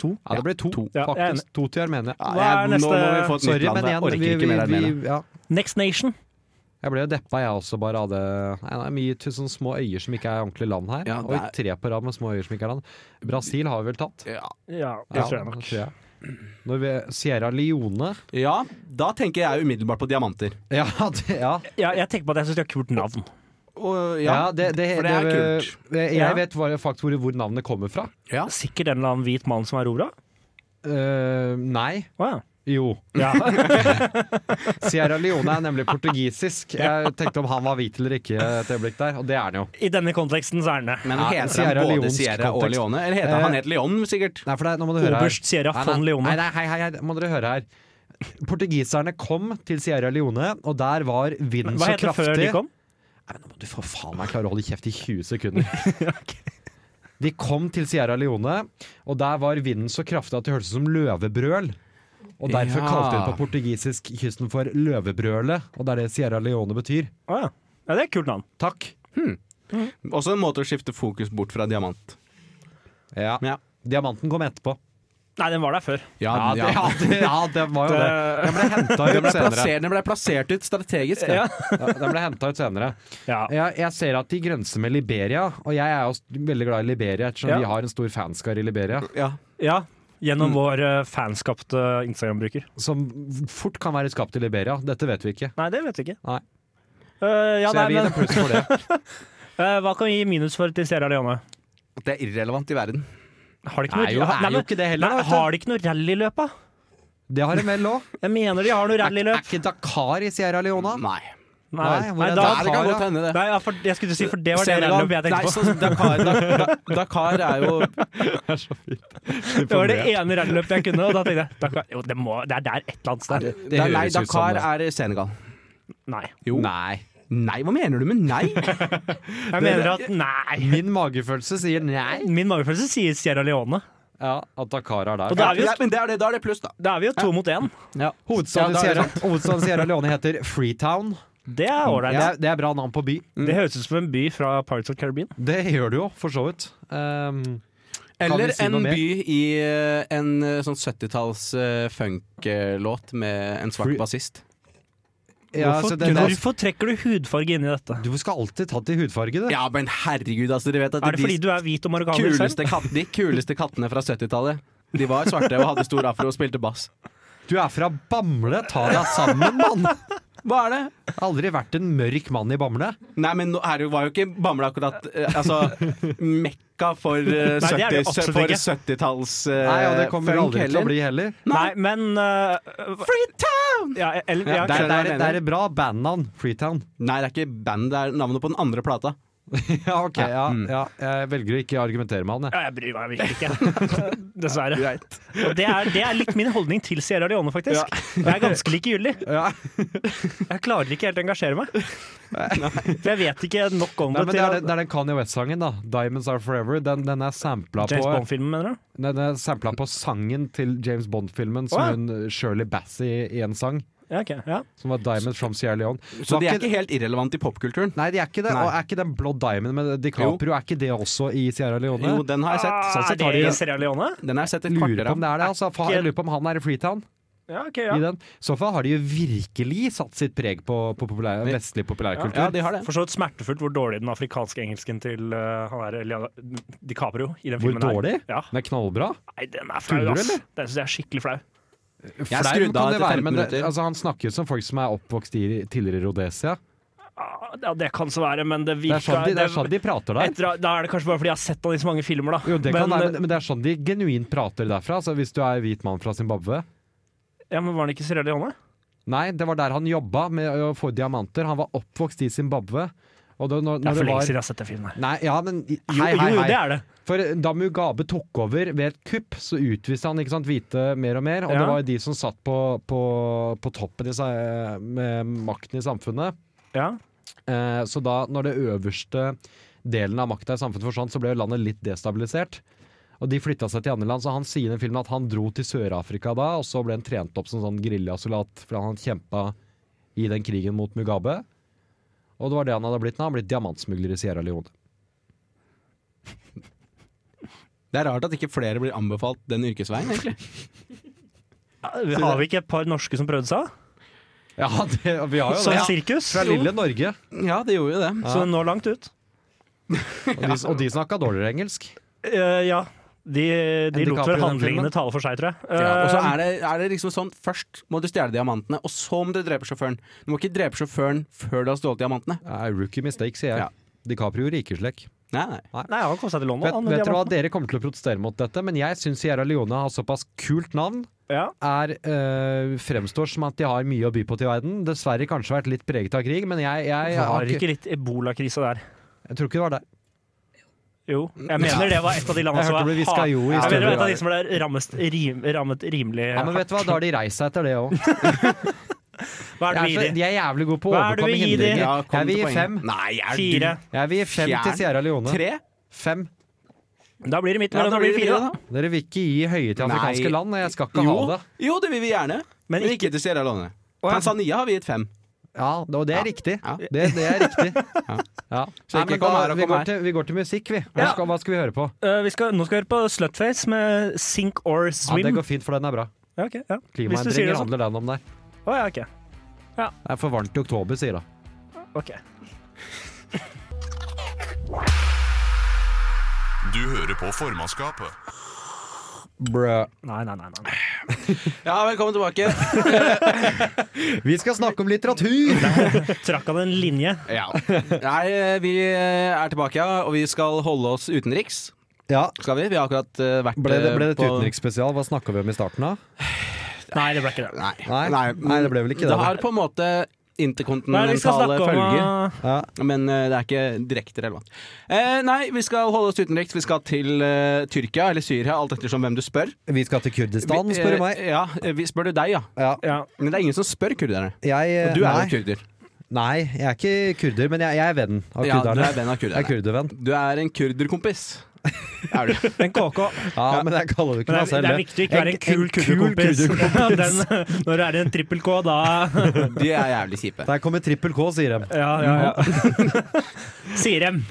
Speaker 4: To? Ja, det ble to,
Speaker 5: to.
Speaker 6: Ja, jeg er
Speaker 4: faktisk. To til her, mener jeg.
Speaker 5: Ja,
Speaker 6: Hva er
Speaker 5: jeg- Nå må
Speaker 6: neste-
Speaker 5: vi få et nytt
Speaker 4: Sorry,
Speaker 5: land.
Speaker 4: men
Speaker 5: Jeg
Speaker 4: igjen,
Speaker 5: orker
Speaker 4: vi,
Speaker 5: ikke
Speaker 4: vi,
Speaker 5: mer
Speaker 4: vi,
Speaker 5: Armenia.
Speaker 4: ja.
Speaker 6: Next Nation.
Speaker 4: Jeg ble jo deppa, jeg også. Bare hadde nei, nei, mye til sånne små øyer som ikke er ordentlig land her.
Speaker 5: Ja, det
Speaker 4: Og tre på rad med små øyer som ikke er land. Brasil har vi vel tatt?
Speaker 5: Ja.
Speaker 6: Ja, det tror jeg
Speaker 4: det
Speaker 6: nok.
Speaker 4: tror jeg. Når vi, Sierra Leone
Speaker 5: ja, da tenker jeg umiddelbart på diamanter.
Speaker 4: Ja, det, ja.
Speaker 6: Ja, jeg tenker på at jeg syns de har kult navn.
Speaker 5: Og,
Speaker 4: ja
Speaker 5: ja.
Speaker 4: det, det,
Speaker 5: for det er
Speaker 4: det- Jeg,
Speaker 6: Ja.
Speaker 4: vet hva, faktisk hvor, hvor navnet kommer fra.
Speaker 5: Ja.
Speaker 6: Sikkert en eller annen hvit mann som erobra?
Speaker 4: Eh, nei.
Speaker 6: Å
Speaker 4: Jo.
Speaker 6: ja. ja.
Speaker 4: Sierra Leone er nemlig portugisisk. Jeg tenkte om han var hvit eller ikke et øyeblikk der, og det er han jo.
Speaker 6: I denne konteksten så er den det.
Speaker 5: Men
Speaker 4: Ja,
Speaker 5: heter
Speaker 4: Sierra
Speaker 5: han både
Speaker 4: Leonsk
Speaker 5: Sierra og
Speaker 4: kontekst.
Speaker 5: Leone? Eller heter han,
Speaker 4: Eh,
Speaker 5: han het Leon, sikkert?
Speaker 4: Nei, for det, nå må du høre her.
Speaker 6: Oberst Sierra
Speaker 4: Nei,
Speaker 6: von
Speaker 4: nei,
Speaker 6: Leone.
Speaker 4: Nei, nei, hei, hei, hei, må dere høre her. Portugiserne kom til Sierra Leone, og der var vinden
Speaker 6: Hva
Speaker 4: så
Speaker 6: het det
Speaker 4: kraftig
Speaker 6: før de kom?
Speaker 4: Nei, men nå må du for faen meg klare å holde kjeft i 20 sekunder. De kom til Sierra Leone, og der var vinden så kraftig at det hørtes ut som løvebrøl. Og derfor
Speaker 5: Ja.
Speaker 4: kalte de det på portugisisk kysten for løvebrølet, og det er det Sierra Leone betyr.
Speaker 6: Å ja. ja, det er et kult navn.
Speaker 4: Takk.
Speaker 5: Også en måte å skifte fokus bort fra diamant.
Speaker 4: Ja.
Speaker 5: Ja.
Speaker 4: Diamanten kom etterpå.
Speaker 6: Nei, den var der før.
Speaker 5: Ja,
Speaker 4: Ja, det, ja,
Speaker 5: ja.
Speaker 4: det, ja, det var jo det. Den ble henta
Speaker 5: Den
Speaker 4: ut
Speaker 5: ble,
Speaker 4: senere.
Speaker 5: plassert, den ble plassert ut strategisk. Ja.
Speaker 4: Ja, Den ble hentet ut senere.
Speaker 6: Ja.
Speaker 4: Jeg, jeg ser at de grenser med Liberia, og jeg er jo s- veldig glad i Liberia, ettersom
Speaker 6: Ja.
Speaker 4: vi har en stor fanskar i Liberia,
Speaker 5: Ja.
Speaker 6: ja.
Speaker 4: Mm.
Speaker 6: Gjennom vår eh, fanskapte Instagram-bruker.
Speaker 4: som fort kan være skapt i Liberia. Dette vet vi ikke.
Speaker 6: Nei, det vet vi ikke.
Speaker 4: Nei.
Speaker 6: Eh, ja,
Speaker 4: Så jeg
Speaker 6: nei,
Speaker 4: vil gi dem
Speaker 6: men,
Speaker 4: pluss for det.
Speaker 6: eh, hva kan vi gi minus for til Sierra Leone?
Speaker 5: At det er irrelevant i verden.
Speaker 6: Har de ikke
Speaker 4: Nei,
Speaker 6: noe,
Speaker 4: jo,
Speaker 6: nei,
Speaker 4: er jo
Speaker 6: men-
Speaker 4: ikke det heller,
Speaker 6: nei,
Speaker 4: da,
Speaker 6: har
Speaker 4: vet du.
Speaker 6: de ikke noe rallyløp, da?
Speaker 4: Det har de vel òg.
Speaker 6: Jeg mener de har noe
Speaker 4: Er, er
Speaker 6: rallyløp.
Speaker 4: ikke Dakar i Sierra Leone?
Speaker 5: Nei.
Speaker 4: Nei, hvor er
Speaker 6: da,
Speaker 5: Der kan godt hende, det.
Speaker 6: nei, ja, for, jeg skulle si, for det var det
Speaker 5: Sierra-
Speaker 6: rallyløpet jeg tenkte
Speaker 5: Nei,
Speaker 6: på.
Speaker 5: sånn som Dakar, da, da, Dakar er jo
Speaker 6: Det var det ene rallyløpet jeg kunne, og da tenkte jeg Dakar, jo, det, må, det er der et eller annet sted.
Speaker 4: Det
Speaker 5: da, Nei,
Speaker 4: høres ut som
Speaker 5: Dakar
Speaker 4: det.
Speaker 5: er Senegal.
Speaker 6: Nei.
Speaker 5: Jo.
Speaker 4: Nei.
Speaker 5: Nei, hva mener du med nei?
Speaker 6: Jeg mener at nei.
Speaker 4: Min magefølelse sier nei.
Speaker 6: Min magefølelse sier Sierra Leone.
Speaker 4: Ja, at Dakar er
Speaker 6: Og
Speaker 4: der.
Speaker 6: da er vi jo,
Speaker 5: Ja, men det er det, da er det pluss, da.
Speaker 6: da er vi jo to mot én.
Speaker 5: Ja.
Speaker 4: Hovedstaden, i
Speaker 5: Ja, da er det
Speaker 4: Sierra, hovedstaden i Sierra Leone heter Freetown.
Speaker 6: Det er
Speaker 4: Det
Speaker 6: ålreit.
Speaker 4: er, det er bra navn på by.
Speaker 6: Det høres ut som en by fra Pirates of Caribbean.
Speaker 4: Det gjør det jo, for så vidt. Um, Kan vi
Speaker 5: Eller
Speaker 4: si noe
Speaker 5: en
Speaker 4: mer?
Speaker 5: by i eh, en eh, sånn 70-talls eh, funklåt med en svart
Speaker 4: Free-
Speaker 5: bassist.
Speaker 4: ja, så
Speaker 6: Hvorfor,
Speaker 4: det, det,
Speaker 6: hvorfor trekker du hudfarge inn i dette?
Speaker 4: du skal alltid ta til hudfarge, du.
Speaker 5: Ja, men herregud, altså. Dere vet at
Speaker 6: Er det
Speaker 5: de
Speaker 6: fordi du er hvit og marokkaner selv?
Speaker 5: kuleste, kat de kuleste kattene fra 70-tallet De var svarte og hadde stor afro og spilte bass.
Speaker 4: Du er fra Bamble, ta deg sammen, mann!
Speaker 5: Hva er det?
Speaker 4: Aldri vært en mørk mann i Bamble.
Speaker 5: Nei, men nå- her var jo ikke Bamble akkurat eh, Altså, mekka for eh,
Speaker 6: Nei, det er det
Speaker 5: 70
Speaker 6: absolutt
Speaker 5: for
Speaker 6: ikke.
Speaker 5: 70-talls
Speaker 4: Nei, og det
Speaker 5: eh,
Speaker 4: kommer
Speaker 5: funk
Speaker 4: aldri til å
Speaker 5: heller.
Speaker 4: bli heller.
Speaker 6: Nei, men Freetown! Ja, eller, ja,
Speaker 4: Det er,
Speaker 5: skjønner
Speaker 4: det
Speaker 5: hva
Speaker 4: er,
Speaker 5: jeg
Speaker 4: det er et bra bandnavn. Freetown.
Speaker 5: Nei, det er ikke band, det er navnet på den andre plata.
Speaker 4: Ja, ok. Ja,
Speaker 5: Mm.
Speaker 4: ja, jeg velger å ikke argumentere med han, jeg.
Speaker 6: Ja, jeg bryr meg virkelig ikke. Dessverre. Og det er, det er litt min holdning til Sierra Leone, faktisk. Jeg er ganske likegyldig.
Speaker 4: Ja.
Speaker 6: Jeg klarer ikke helt å engasjere meg. For jeg vet ikke nok om
Speaker 4: Nei,
Speaker 6: det.
Speaker 4: men det, er, den- det er den Kanye West-sangen, da. 'Diamonds Are Forever'. Den, den er sampla
Speaker 6: James
Speaker 4: på,
Speaker 6: Bond-filmen, mener du?
Speaker 4: den er sampla på sangen til James Bond-filmen,
Speaker 6: Å, ja.
Speaker 4: som hun eh, Shirley Bassey i en sang.
Speaker 6: Ja, ok. Ja.
Speaker 4: Som var 'Diamonds from Sierra Leone'.
Speaker 5: Så
Speaker 4: Var
Speaker 5: de er ikke helt irrelevant i popkulturen.
Speaker 4: Nei, de er ikke det.
Speaker 5: Nei.
Speaker 4: Og er ikke den Blå Diamond med DiCaprio, er ikke det også i Sierra Leone?
Speaker 5: Jo, den har jeg sett. Sånn sett
Speaker 6: er Ah,
Speaker 5: har de
Speaker 6: det
Speaker 5: den.
Speaker 6: Sierra Leone?
Speaker 5: Den har jeg sett et
Speaker 4: Lurer
Speaker 5: kvarter
Speaker 4: på om
Speaker 5: av.
Speaker 4: det er det. Altså, for, jeg lurer på om han er i Freetown.
Speaker 6: Ja, ok,
Speaker 4: I
Speaker 6: ja.
Speaker 4: den. I så fall har de jo virkelig satt sitt preg på, på populær, vestlig populærkultur.
Speaker 5: Ja, de har det.
Speaker 6: For så vidt smertefullt hvor dårlig den afrikanske engelsken til uh, han er Lea- DiCaprio i den
Speaker 4: Hvor
Speaker 6: filmen
Speaker 4: dårlig?
Speaker 6: er. Ja.
Speaker 4: Den er knallbra.
Speaker 6: Nei, den er flau,
Speaker 4: Tuller du,
Speaker 6: ass.
Speaker 4: eller?
Speaker 6: Den syns jeg er skikkelig flau.
Speaker 4: Flau
Speaker 5: skrudde
Speaker 4: kan
Speaker 5: av
Speaker 4: det
Speaker 5: etter
Speaker 4: være,
Speaker 5: 15
Speaker 4: men det-
Speaker 5: minutter.
Speaker 4: Altså, han snakker jo som folk som er oppvokst i tidligere Rhodesia.
Speaker 6: Ah, Ja, det kan så være, men
Speaker 4: Det
Speaker 6: det
Speaker 4: er
Speaker 6: virker
Speaker 4: sånn de, det er sånn de prater der.
Speaker 6: etter, Da er det kanskje bare fordi jeg har sett han i så mange filmer, da.
Speaker 4: Jo, det kan
Speaker 6: men, eh,
Speaker 4: være, men, men det er sånn de genuint prater derfra. Altså, hvis du er hvit mann fra Zimbabwe
Speaker 6: eh, ja, men var den ikke Sierra Leone?
Speaker 4: Nei, det var der han jobba med å få diamanter. Han var oppvokst i Zimbabwe. Og da, når,
Speaker 6: Det
Speaker 4: når
Speaker 6: er for lenge siden
Speaker 4: var,
Speaker 6: jeg har sett den filmen. her.
Speaker 4: Nei, ja, men hei,
Speaker 6: Jo,
Speaker 4: hei,
Speaker 6: jo, jo,
Speaker 4: hei.
Speaker 6: det er det.
Speaker 4: For eh, da Mugabe tok over ved et kupp, så utviste han ikke sant, hvite mer og mer. Og
Speaker 6: Ja.
Speaker 4: det var jo de som satt på, på, på toppen i, sa- med makten i samfunnet.
Speaker 6: Ja.
Speaker 4: Eh, så da når det øverste delen av makta i samfunnet forsvant, så ble jo landet litt destabilisert. Og de flytta seg til andre land, så han sier i den filmen at han dro til Sør-Afrika da, og så ble han trent opp som sånn geriljasoldat fordi han kjempa i den krigen mot Mugabe. Og det var det han hadde blitt nå. Han hadde blitt diamantsmugler i Sierra Leone.
Speaker 5: Det er rart at ikke flere blir anbefalt den yrkesveien, egentlig.
Speaker 6: Har vi ikke et par norske som prøvde seg?
Speaker 4: Ja, det, vi har jo
Speaker 6: Som
Speaker 4: det.
Speaker 6: sirkus?
Speaker 4: Fra lille Norge.
Speaker 5: Ja, det gjorde jo det.
Speaker 6: Så den når langt ut.
Speaker 4: Og de, og de snakka dårligere engelsk.
Speaker 6: Eh, ja. De, de
Speaker 4: En
Speaker 6: lot vel
Speaker 4: DiCaprio, den
Speaker 6: handlingene
Speaker 4: filmen.
Speaker 6: tale for seg, tror jeg.
Speaker 5: Ja, og så
Speaker 6: Eh,
Speaker 5: er det, er det liksom sånn Først må du stjele diamantene, og så må du drepe sjåføren. Du må ikke drepe sjåføren før du har stjålet diamantene.
Speaker 4: Nei, rookie mistake, sier jeg.
Speaker 5: Ja.
Speaker 4: DiCaprio rikeslekk.
Speaker 5: Nei, nei.
Speaker 6: Nei, han kom seg til London.
Speaker 4: Vet,
Speaker 6: han,
Speaker 4: vet dere hva,
Speaker 6: diamanten.
Speaker 4: dere kommer til å protestere mot dette, men jeg syns Sierra Leone har såpass kult navn.
Speaker 6: Ja.
Speaker 4: Er, eh, fremstår som at de har mye å by på til verden. Dessverre kanskje vært litt preget av krig, men jeg, jeg, jeg, har
Speaker 6: Var
Speaker 4: ikke,
Speaker 6: ikke litt ebolakrisa der?
Speaker 4: jeg tror ikke det var der.
Speaker 6: Jo, jeg mener det var et av de landene
Speaker 4: Jeg hørte
Speaker 6: som var
Speaker 4: det ble hviska
Speaker 6: hard-
Speaker 4: jo i
Speaker 6: Jeg mener det var et av
Speaker 4: stedet.
Speaker 6: de som ble rammest, rim, rammet rimelig
Speaker 4: Ja, men vet du hva, da har de reist seg etter det òg.
Speaker 6: Hva er det vi gir de?
Speaker 4: De er jævlig gode på å
Speaker 6: Hva er det vi
Speaker 4: overkomme
Speaker 6: gir de?
Speaker 4: hindringer.
Speaker 5: Ja, kom
Speaker 4: jeg vil
Speaker 5: til
Speaker 4: gi
Speaker 5: poenget.
Speaker 4: fem.
Speaker 5: Nei, er du-
Speaker 6: Fire.
Speaker 4: Jeg vil gi fem
Speaker 5: Fjern.
Speaker 4: til Sierra Leone.
Speaker 5: Tre?
Speaker 4: Fem.
Speaker 6: Da blir det midt mellom, da blir det fire. da.
Speaker 4: Dere vil ikke gi høye til afrikanske
Speaker 5: Nei.
Speaker 4: land, og jeg skal ikke
Speaker 5: Jo,
Speaker 4: ha det.
Speaker 5: jo, det vil vi gjerne. Men
Speaker 6: Men
Speaker 5: ikke, til Sierra Leone. Tanzania har vi gitt fem.
Speaker 4: Ja, det- og det er riktig.
Speaker 5: Ja.
Speaker 4: Det, det er riktig. Ja.
Speaker 5: Så
Speaker 4: Nei,
Speaker 5: ikke
Speaker 4: men
Speaker 5: kom her
Speaker 4: da,
Speaker 5: og
Speaker 4: vi,
Speaker 5: kom
Speaker 4: går
Speaker 5: her.
Speaker 4: til, vi går til musikk, vi. Hva
Speaker 6: Ja.
Speaker 4: skal, hva skal vi høre på?
Speaker 6: Eh, vi skal, nå skal vi høre på Slutface med Sink or
Speaker 4: Ja, det
Speaker 6: Swim.
Speaker 4: går fint, for den er bra.
Speaker 6: Ja, ok, ja. Hvis du
Speaker 4: Klimaendringer
Speaker 6: sier det sånn.
Speaker 4: handler den om der.
Speaker 6: Å ja, ok.
Speaker 4: Det er for varmt i oktober, sier hun.
Speaker 6: ok.
Speaker 1: Du hører på formannskapet.
Speaker 6: Nei, nei, nei. nei.
Speaker 5: Ja, velkommen tilbake.
Speaker 4: Vi skal snakke om litteratur!
Speaker 6: Trakk han en linje?
Speaker 5: ja. Nei, eh, vi er tilbake, ja, og vi skal holde oss utenriks.
Speaker 4: Ja.
Speaker 5: Skal vi? Vi har akkurat eh, vært
Speaker 4: Ble det,
Speaker 5: eh,
Speaker 4: ble det et
Speaker 5: på-
Speaker 4: utenriksspesial? Hva snakka vi om i starten, da?
Speaker 6: Nei, det ble ikke det.
Speaker 5: Nei.
Speaker 4: Nei, nei, det ble vel ikke det.
Speaker 5: Det har på en måte
Speaker 6: Hva er det vi skal
Speaker 5: interkontinentale
Speaker 6: snakke om?
Speaker 5: følger.
Speaker 6: eh,
Speaker 4: Ja.
Speaker 5: Men eh, det er ikke direkte relevant. Eh, nei, vi skal holde oss utenriks. Vi skal til eh, Tyrkia eller Syria, alt ettersom hvem du spør.
Speaker 4: Vi skal til Kurdistan,
Speaker 5: Vi-
Speaker 4: spør
Speaker 5: eh,
Speaker 4: du meg.
Speaker 5: Ja, eh, vi spør du deg, ja.
Speaker 4: Ja,
Speaker 6: Ja.
Speaker 5: Men det er ingen som spør kurderne.
Speaker 4: jeg
Speaker 5: Og du er
Speaker 4: nei,
Speaker 5: jo kurder.
Speaker 4: nei, jeg er ikke kurder, men jeg, jeg er venn av
Speaker 5: Ja, du
Speaker 4: kurderne.
Speaker 5: er venn av
Speaker 4: Jeg er
Speaker 5: kurderne.
Speaker 4: kurdervenn.
Speaker 5: Du er en kurderkompis. Er du?
Speaker 6: En KK.
Speaker 4: Ja, men jeg kaller det ikke
Speaker 6: Men
Speaker 4: meg
Speaker 6: det, er,
Speaker 4: selv.
Speaker 6: det er viktig å ikke være en kul
Speaker 4: kurderkompis.
Speaker 6: kurdekompis. Den- Når du er en trippel K, da
Speaker 5: De er jævlig kjipe.
Speaker 4: Der kommer trippel K, sier de.
Speaker 6: Ja, ja, ja. Sier dem.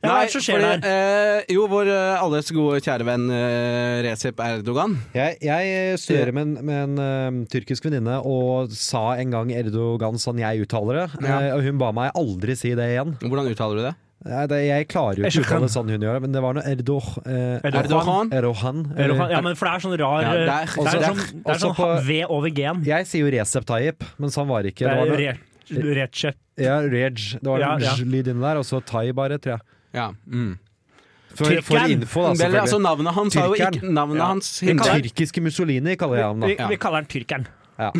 Speaker 6: Ja, hva er det som skjer
Speaker 5: fordi,
Speaker 6: der?
Speaker 5: eh, jo, vår eh, alles gode kjære venn eh, Recep Erdogan
Speaker 4: Jeg, jeg eh, studerer med en, med en øhm, tyrkisk venninne og sa en gang Erdogan sånn jeg uttaler det.
Speaker 5: Ja.
Speaker 4: eh, og hun ba meg aldri si det igjen.
Speaker 5: Hvordan uttaler du det?
Speaker 4: Nei, det, jeg klarer jo ikke å uttale det sånn hun gjør det, men det var noe Erdoh, eh,
Speaker 5: Erdogan.
Speaker 4: Erdohan.
Speaker 6: Er du- Ja, men for det er sånn rar
Speaker 5: eh, Ja,
Speaker 6: Det er,
Speaker 5: det er- altså,
Speaker 6: sånn, det
Speaker 5: det er-
Speaker 6: er sånn, det er
Speaker 4: også
Speaker 6: sånn
Speaker 4: på-
Speaker 6: V over G-en.
Speaker 4: Jeg sier jo Recep Tayyip, mens han var ikke.
Speaker 6: Det
Speaker 4: Det var
Speaker 6: er
Speaker 4: noe,
Speaker 6: re- Recep.
Speaker 4: ja, Rej. Det var
Speaker 6: Ja,
Speaker 4: noe
Speaker 6: ja.
Speaker 4: lyd inni der, og så Tai bare, tror jeg.
Speaker 5: Ja. Mm.
Speaker 4: For, for
Speaker 6: Tyrkeren.
Speaker 4: info, da,
Speaker 5: Vel, altså,
Speaker 4: selvfølgelig.
Speaker 5: navnet hans har jo
Speaker 4: Tyrkeren.
Speaker 5: ikke Navnet
Speaker 6: Ja.
Speaker 5: hans
Speaker 4: Den
Speaker 5: hindrer
Speaker 4: tyrkiske Mussolini kaller jeg ham,
Speaker 6: Vi,
Speaker 4: da.
Speaker 5: Ja.
Speaker 6: vi kaller den tyrkeren.
Speaker 4: Ja.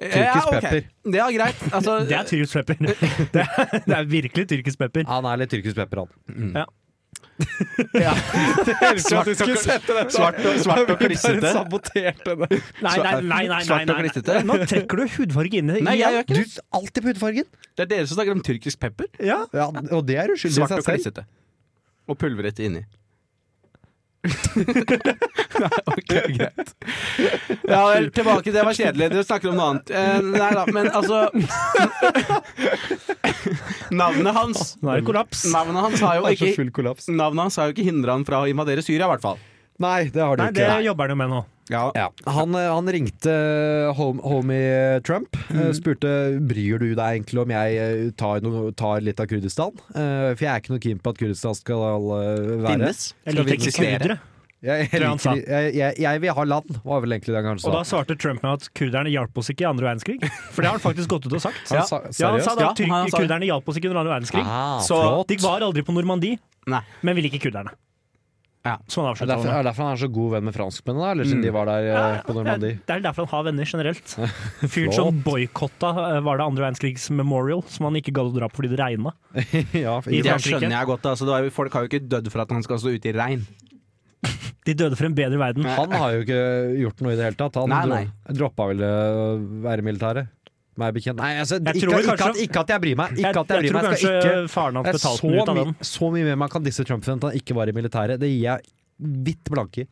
Speaker 5: Ja, ok.
Speaker 4: pepper.
Speaker 5: Det er greit. Altså,
Speaker 6: Det er tyrkisk pepper. Det er, det er virkelig tyrkisk pepper.
Speaker 4: Han er litt tyrkisk pepper, han.
Speaker 5: Mm. ja. svart og, svart og klissete.
Speaker 4: saboterte det.
Speaker 6: Nei, nei, nei. nei, nei,
Speaker 5: Svart og
Speaker 6: nei, nei.
Speaker 5: glittete.
Speaker 6: Nå trekker du hudfarge inn i
Speaker 5: Nei, jeg gjør ikke
Speaker 4: Du
Speaker 5: det.
Speaker 4: alltid på hudfargen.
Speaker 5: Det er dere som snakker om tyrkisk pepper.
Speaker 6: Ja.
Speaker 4: Ja, og det er uskyldig i
Speaker 5: Svart
Speaker 4: seg
Speaker 5: og
Speaker 4: selv.
Speaker 5: klissete. Og pulverete inni. ok, greit. Ja vel, tilbake. Det var kjedelig. Dere snakker om noe annet. Eh, nei da, men altså Navnet hans
Speaker 6: Nå er det kollaps.
Speaker 5: Navnet hans har jo
Speaker 4: Det er så
Speaker 5: ikke
Speaker 4: full kollaps.
Speaker 5: Navnet hans har jo ikke hindra han fra å invadere Syria, i hvert fall.
Speaker 4: Nei, det har du
Speaker 6: Nei, det
Speaker 4: ikke.
Speaker 6: jobber han jo med nå.
Speaker 4: Ja. Han, eh, han ringte eh, hom- homie Trump. eh, Spurte bryr du deg egentlig om jeg eh, tar, no, tar litt av Kurdistan. Eh, For jeg er ikke noe keen på at Kurdistan skal eh, være
Speaker 5: Finnes.
Speaker 6: Jeg
Speaker 5: Skal vi
Speaker 6: liker ikke
Speaker 5: eksistere?
Speaker 6: kurdere.
Speaker 4: Jeg, jeg,
Speaker 6: Tror jeg han sa.
Speaker 4: liker, jeg, jeg, jeg vil ha land, var vel egentlig det han kanskje
Speaker 6: Og da
Speaker 4: sa.
Speaker 6: svarte Trump med at kurderne hjalp oss ikke i andre verdenskrig. For det har han faktisk gått ut og sagt.
Speaker 4: Han sa-
Speaker 6: Ja, han sa da
Speaker 5: Ja,
Speaker 6: at tyrk-
Speaker 5: han sa det.
Speaker 6: kurderne hjalp oss ikke under andre verdenskrig.
Speaker 4: Ah,
Speaker 5: Så-
Speaker 4: flott.
Speaker 6: De var aldri på Normandie,
Speaker 5: Nei.
Speaker 6: men ville ikke kurderne.
Speaker 5: Ja.
Speaker 6: Som han
Speaker 4: Er
Speaker 6: avslutta
Speaker 4: det derfor,
Speaker 6: med.
Speaker 4: er det derfor han er så god venn med franskmennene, da? Eller siden de var der eh, på Normandie?
Speaker 6: Det er derfor han har venner generelt. Fyren som boikotta eh, var det andre verdenskrigs memorial, som han ikke gadd å dra på fordi det regna.
Speaker 4: ja, for-
Speaker 6: I
Speaker 5: Det
Speaker 6: Frankrike.
Speaker 5: skjønner jeg godt. Altså, det er jo- folk har jo ikke dødd for at han skal stå ute i regn.
Speaker 6: De døde for en bedre verden.
Speaker 4: han har jo ikke gjort noe i det hele tatt. Han
Speaker 5: Nei,
Speaker 4: dro,
Speaker 5: nei.
Speaker 4: droppa vel å være i militæret. Meg bekjent. Nei, altså,
Speaker 6: Jeg
Speaker 4: ikke,
Speaker 6: tror
Speaker 4: ikke,
Speaker 6: kanskje-
Speaker 4: at, ikke at jeg bryr meg.
Speaker 6: Jeg,
Speaker 4: Ikke at jeg
Speaker 6: jeg
Speaker 4: bryr
Speaker 6: tror
Speaker 4: meg. Jeg
Speaker 6: kanskje
Speaker 4: skal ikke
Speaker 6: faren hans
Speaker 4: Det er
Speaker 6: betalte
Speaker 4: så,
Speaker 6: den ut av
Speaker 4: my
Speaker 6: den.
Speaker 4: så mye mer man kan disse Trump for at han ikke var i militæret. Det gir jeg hvitt blanke i.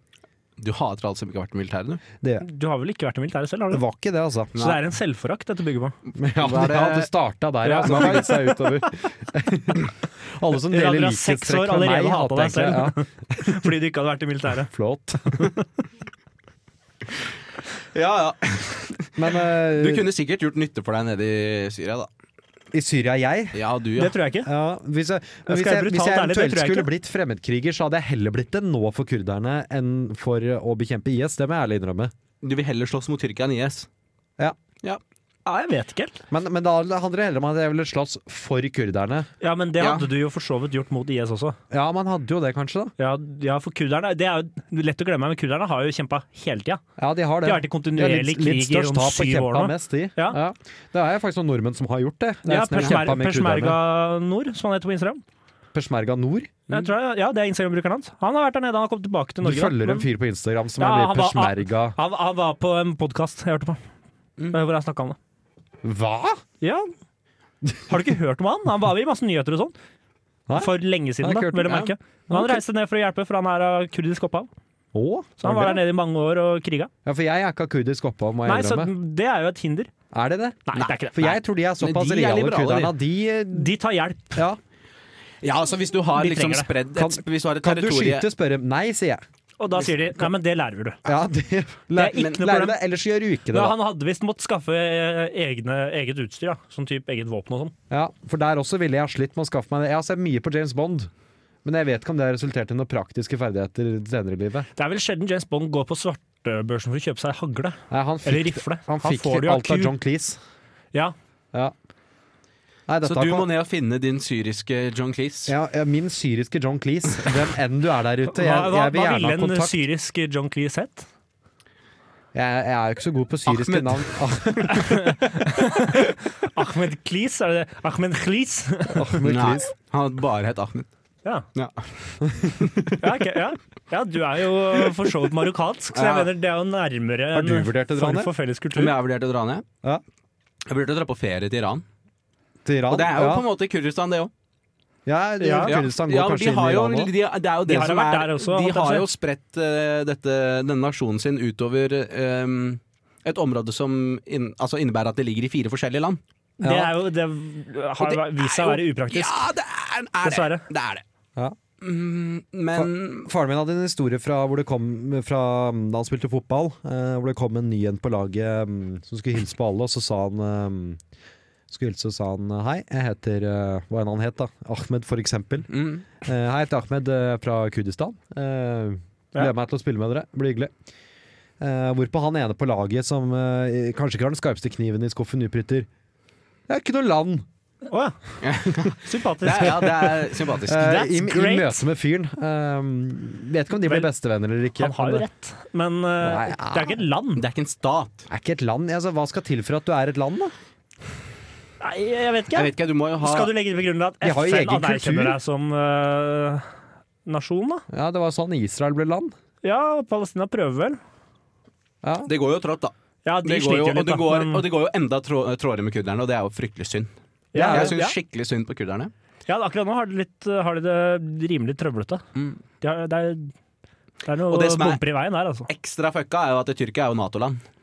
Speaker 5: Du hater altså ikke å ha vært i militæret, du.
Speaker 4: Det, gjør jeg.
Speaker 6: Du har vel ikke vært i militæret selv, har
Speaker 4: det
Speaker 6: du?
Speaker 4: var ikke det, altså.
Speaker 6: Så det er en selvforakt dette bygger på.
Speaker 4: Ja,
Speaker 5: Hva er
Speaker 4: det, ja,
Speaker 5: det-
Speaker 4: det starta der,
Speaker 6: Ja,
Speaker 4: ja.
Speaker 5: Altså,
Speaker 4: Som har gitt seg utover. Alle som
Speaker 6: Dere
Speaker 4: deler
Speaker 6: andre har seks år
Speaker 4: likhetstrekk med meg,
Speaker 6: allerede
Speaker 4: hater
Speaker 6: hatet deg
Speaker 4: jeg ikke.
Speaker 6: selv.
Speaker 4: Ja,
Speaker 6: Fordi du ikke hadde vært i militæret.
Speaker 4: flott.
Speaker 5: Ja, ja.
Speaker 4: Men eh,
Speaker 5: Du kunne sikkert gjort nytte for deg nede i Syria, da.
Speaker 4: i Syria er jeg.
Speaker 5: Ja, du, ja.
Speaker 6: Det tror jeg ikke.
Speaker 4: Ja, hvis jeg, men
Speaker 6: Jeg
Speaker 4: hvis
Speaker 6: skal
Speaker 4: jeg,
Speaker 6: være
Speaker 4: hvis
Speaker 6: brutalt
Speaker 4: jeg
Speaker 6: ærlig, det
Speaker 4: eventuelt
Speaker 6: tror jeg
Speaker 4: skulle
Speaker 6: ikke.
Speaker 4: blitt fremmedkriger, så hadde jeg heller blitt det nå for kurderne enn for eh, å bekjempe IS. Det må jeg ærlig innrømme.
Speaker 5: Du vil heller slåss mot Tyrkia enn IS.
Speaker 4: Ja.
Speaker 6: Ja, jeg vet ikke helt.
Speaker 4: Men, men da handler det heller om at jeg ville slåss for kurderne.
Speaker 6: Ja, Men det
Speaker 5: Ja.
Speaker 6: hadde du jo for så vidt gjort mot IS også.
Speaker 4: Ja, man hadde jo det, kanskje. da
Speaker 6: Ja, ja for kurderne Det er jo lett å glemme, men kurderne har jo kjempa hele tida.
Speaker 4: Ja, de har det.
Speaker 6: De har vært i kontinuerlig
Speaker 4: Ja, litt,
Speaker 6: krig i
Speaker 4: litt størst
Speaker 6: rundt
Speaker 4: tap og
Speaker 6: syv år
Speaker 4: kjempa
Speaker 6: nå.
Speaker 4: mest, de. Ja.
Speaker 6: Ja.
Speaker 4: Det er faktisk noen nordmenn som har gjort det. det er
Speaker 6: Ja,
Speaker 4: nesten jeg kjempa
Speaker 6: Peshmer-
Speaker 4: med
Speaker 6: Peshmerga
Speaker 4: kurderne.
Speaker 6: Nord, som han heter på Instagram.
Speaker 4: Peshmerga Nord.
Speaker 6: Jeg tror, jeg- ja, Det er Instagram-brukeren hans. Han har vært der nede, han har kommet tilbake til
Speaker 4: Mm. Du
Speaker 6: Norge. da,
Speaker 4: følger
Speaker 6: men-
Speaker 4: en fyr på Instagram som
Speaker 6: Ja,
Speaker 4: er med i
Speaker 6: han var-
Speaker 4: Peshmerga
Speaker 6: Han, han var på en podkast jeg hørte på,
Speaker 4: Mm.
Speaker 6: eh, hvor jeg snakka om det.
Speaker 4: Hva?!
Speaker 6: Ja. Har du ikke hørt om han? Han var med i masse nyheter og sånn.
Speaker 4: Nei.
Speaker 6: For lenge siden,
Speaker 4: Nei,
Speaker 6: da,
Speaker 4: ikke hørt om
Speaker 6: vil jeg
Speaker 5: det.
Speaker 6: merke. Men han reiste ned for å hjelpe, for han er av kurdisk opphav.
Speaker 4: Å?
Speaker 6: Så han var der nede i mange år og kriga.
Speaker 4: Ja, for jeg er ikke av kurdisk opphav, må
Speaker 6: Nei,
Speaker 4: jeg
Speaker 6: så
Speaker 4: innrømme.
Speaker 6: det er jo et hinder.
Speaker 4: Er det det?
Speaker 6: Nei, det er ikke det.
Speaker 4: For jeg tror de er såpass
Speaker 5: de er
Speaker 4: reale,
Speaker 5: liberale,
Speaker 4: kurderne. at De, eh,
Speaker 6: De tar hjelp.
Speaker 4: ja.
Speaker 5: Ja, altså Hvis du har
Speaker 6: De
Speaker 5: liksom
Speaker 6: trenger det.
Speaker 5: spredd
Speaker 4: Kan-
Speaker 5: et, Hvis du har et
Speaker 4: Kan du
Speaker 5: territorie-
Speaker 4: skyte, spørre Nei, sier jeg.
Speaker 6: Og da sier de nei, men det lærer du.
Speaker 4: Ja, det,
Speaker 6: Det er ikke
Speaker 4: men-
Speaker 6: noe
Speaker 4: lærer
Speaker 6: problem.
Speaker 4: det, ellers gjør du ikke det.
Speaker 6: Ja,
Speaker 4: Da.
Speaker 6: han hadde visst måttet skaffe eh, egne, eget utstyr, ja. som type eget våpen og sånn.
Speaker 4: Ja, for der også ville jeg ha slitt med å skaffe meg det. Jeg har sett mye på James Bond, men jeg vet ikke om det har resultert i noen praktiske ferdigheter senere i livet.
Speaker 6: Det er vel sjelden James Bond går på svartebørsen for å kjøpe seg hagle.
Speaker 4: Nei, han
Speaker 6: Eller
Speaker 4: fikk,
Speaker 6: rifle.
Speaker 4: han
Speaker 6: Han
Speaker 4: fikk
Speaker 6: får det jo av
Speaker 4: alt av
Speaker 6: Q.
Speaker 4: John Cleese.
Speaker 6: Ja,
Speaker 4: Ja. Nei, dette
Speaker 5: Så
Speaker 4: har
Speaker 5: du må
Speaker 4: kom-
Speaker 5: ned og finne din syriske John Cleese.
Speaker 4: ja, ja, min syriske John Cleese, hvem enn du er der ute. Jeg,
Speaker 6: Hva, hva,
Speaker 4: jeg vil
Speaker 6: hva
Speaker 4: gjerne
Speaker 6: ville
Speaker 4: ha
Speaker 6: en
Speaker 4: kontakt.
Speaker 6: syrisk John Cleese hett?
Speaker 4: Jeg, jeg er jo ikke så god på syriske
Speaker 5: Ahmed.
Speaker 4: navn.
Speaker 6: Ahmed Cleese, er det det? Ahmed Cleese?
Speaker 4: Ahmed
Speaker 5: Nei,
Speaker 4: Cleese.
Speaker 5: han hadde bare hett Ahmed.
Speaker 6: Ja.
Speaker 5: Ja.
Speaker 6: Ja, ok, ja. ja, du er jo for så vidt marokkansk, så jeg
Speaker 5: Ja.
Speaker 6: mener det er jo nærmere
Speaker 4: Har du vurdert å dra
Speaker 6: form
Speaker 4: ned?
Speaker 6: for felles kultur.
Speaker 5: Om jeg har vurdert å dra ned?
Speaker 4: Ja.
Speaker 5: Jeg vurderte å dra på ferie til Iran.
Speaker 4: Til Iran?
Speaker 5: Og det er jo
Speaker 4: ja.
Speaker 5: på en måte Kurdistan, det òg.
Speaker 4: Ja, ja.
Speaker 6: Ja.
Speaker 4: Kurdistan går
Speaker 5: Ja, men
Speaker 4: kanskje
Speaker 5: de
Speaker 4: inn i
Speaker 5: har jo,
Speaker 4: Iran
Speaker 5: de,
Speaker 4: også.
Speaker 5: det er jo det
Speaker 6: har
Speaker 5: som
Speaker 6: vært
Speaker 5: er
Speaker 6: der også,
Speaker 5: De
Speaker 6: holdt jeg på
Speaker 5: har
Speaker 6: å
Speaker 5: jo spredt eh, dette, denne nasjonen sin utover eh, et område som inn, altså innebærer at det ligger i fire forskjellige land.
Speaker 6: Det er jo Det har
Speaker 5: Og det
Speaker 6: vist
Speaker 5: er
Speaker 6: seg å være
Speaker 5: jo-
Speaker 6: upraktisk.
Speaker 5: Ja, det er, er
Speaker 6: Dessverre.
Speaker 5: det. Det er det.
Speaker 4: Ja.
Speaker 5: Mm, men
Speaker 4: Faren min hadde en historie fra, hvor det kom, fra mm, da han spilte fotball. eh, hvor det kom en ny en på laget mm, som skulle hilse på alle, og så sa han mm, skulle hilse og sa han hei, jeg heter eh, Hva enn han het, da. Ahmed, for eksempel.
Speaker 5: mm,
Speaker 4: Eh, hei, jeg heter Ahmed eh, fra Kurdistan. Uh,
Speaker 6: Ja.
Speaker 4: Gleder meg til å spille med dere. Blir hyggelig. Eh, hvorpå han ene på laget som eh, kanskje ikke har den skarpeste kniven i skuffen, utbryter Det er ikke noe land!
Speaker 6: Å ja.
Speaker 5: det, er,
Speaker 6: Sympatisk.
Speaker 5: ja, det er sympatisk.
Speaker 4: Eh,
Speaker 6: That's
Speaker 4: i, I
Speaker 6: great.
Speaker 4: møte med fyren. Eh, vet ikke om de blir
Speaker 6: Vel,
Speaker 4: bestevenner eller ikke.
Speaker 6: Han har
Speaker 4: men,
Speaker 6: jo rett, men eh,
Speaker 4: Nei, ja.
Speaker 6: det er ikke et land.
Speaker 5: Det er ikke en stat.
Speaker 4: Er ikke et land? Altså, hva skal til for at du er et land, da?
Speaker 6: Nei, jeg vet ikke.
Speaker 5: Jeg vet ikke, du må jo ha
Speaker 6: Skal du legge til grunn at
Speaker 4: De har jo
Speaker 6: FN
Speaker 4: egen kultur.
Speaker 6: anerkjenner deg som eh, nasjon, da?
Speaker 4: Ja, Det var sånn Israel ble land.
Speaker 6: Ja, Palestina prøver vel.
Speaker 4: Ja.
Speaker 5: Det går jo trått, da.
Speaker 6: Ja, de
Speaker 5: Det går jo,
Speaker 6: sliter jo
Speaker 5: og,
Speaker 6: litt,
Speaker 5: det går,
Speaker 6: men-
Speaker 5: og det går jo enda trå, trådere med kurderne, og det er jo fryktelig synd.
Speaker 6: ja,
Speaker 5: Jeg
Speaker 6: ja.
Speaker 5: syns skikkelig synd på kurderne.
Speaker 6: ja, akkurat nå har de, litt, har de det rimelig trøblete.
Speaker 5: Mm.
Speaker 6: De har, det, er, det er
Speaker 5: Og
Speaker 6: noe
Speaker 5: det som er-
Speaker 6: bumper i veien der, altså.
Speaker 5: Ekstra fucka er jo at Tyrkia er jo Nato-land.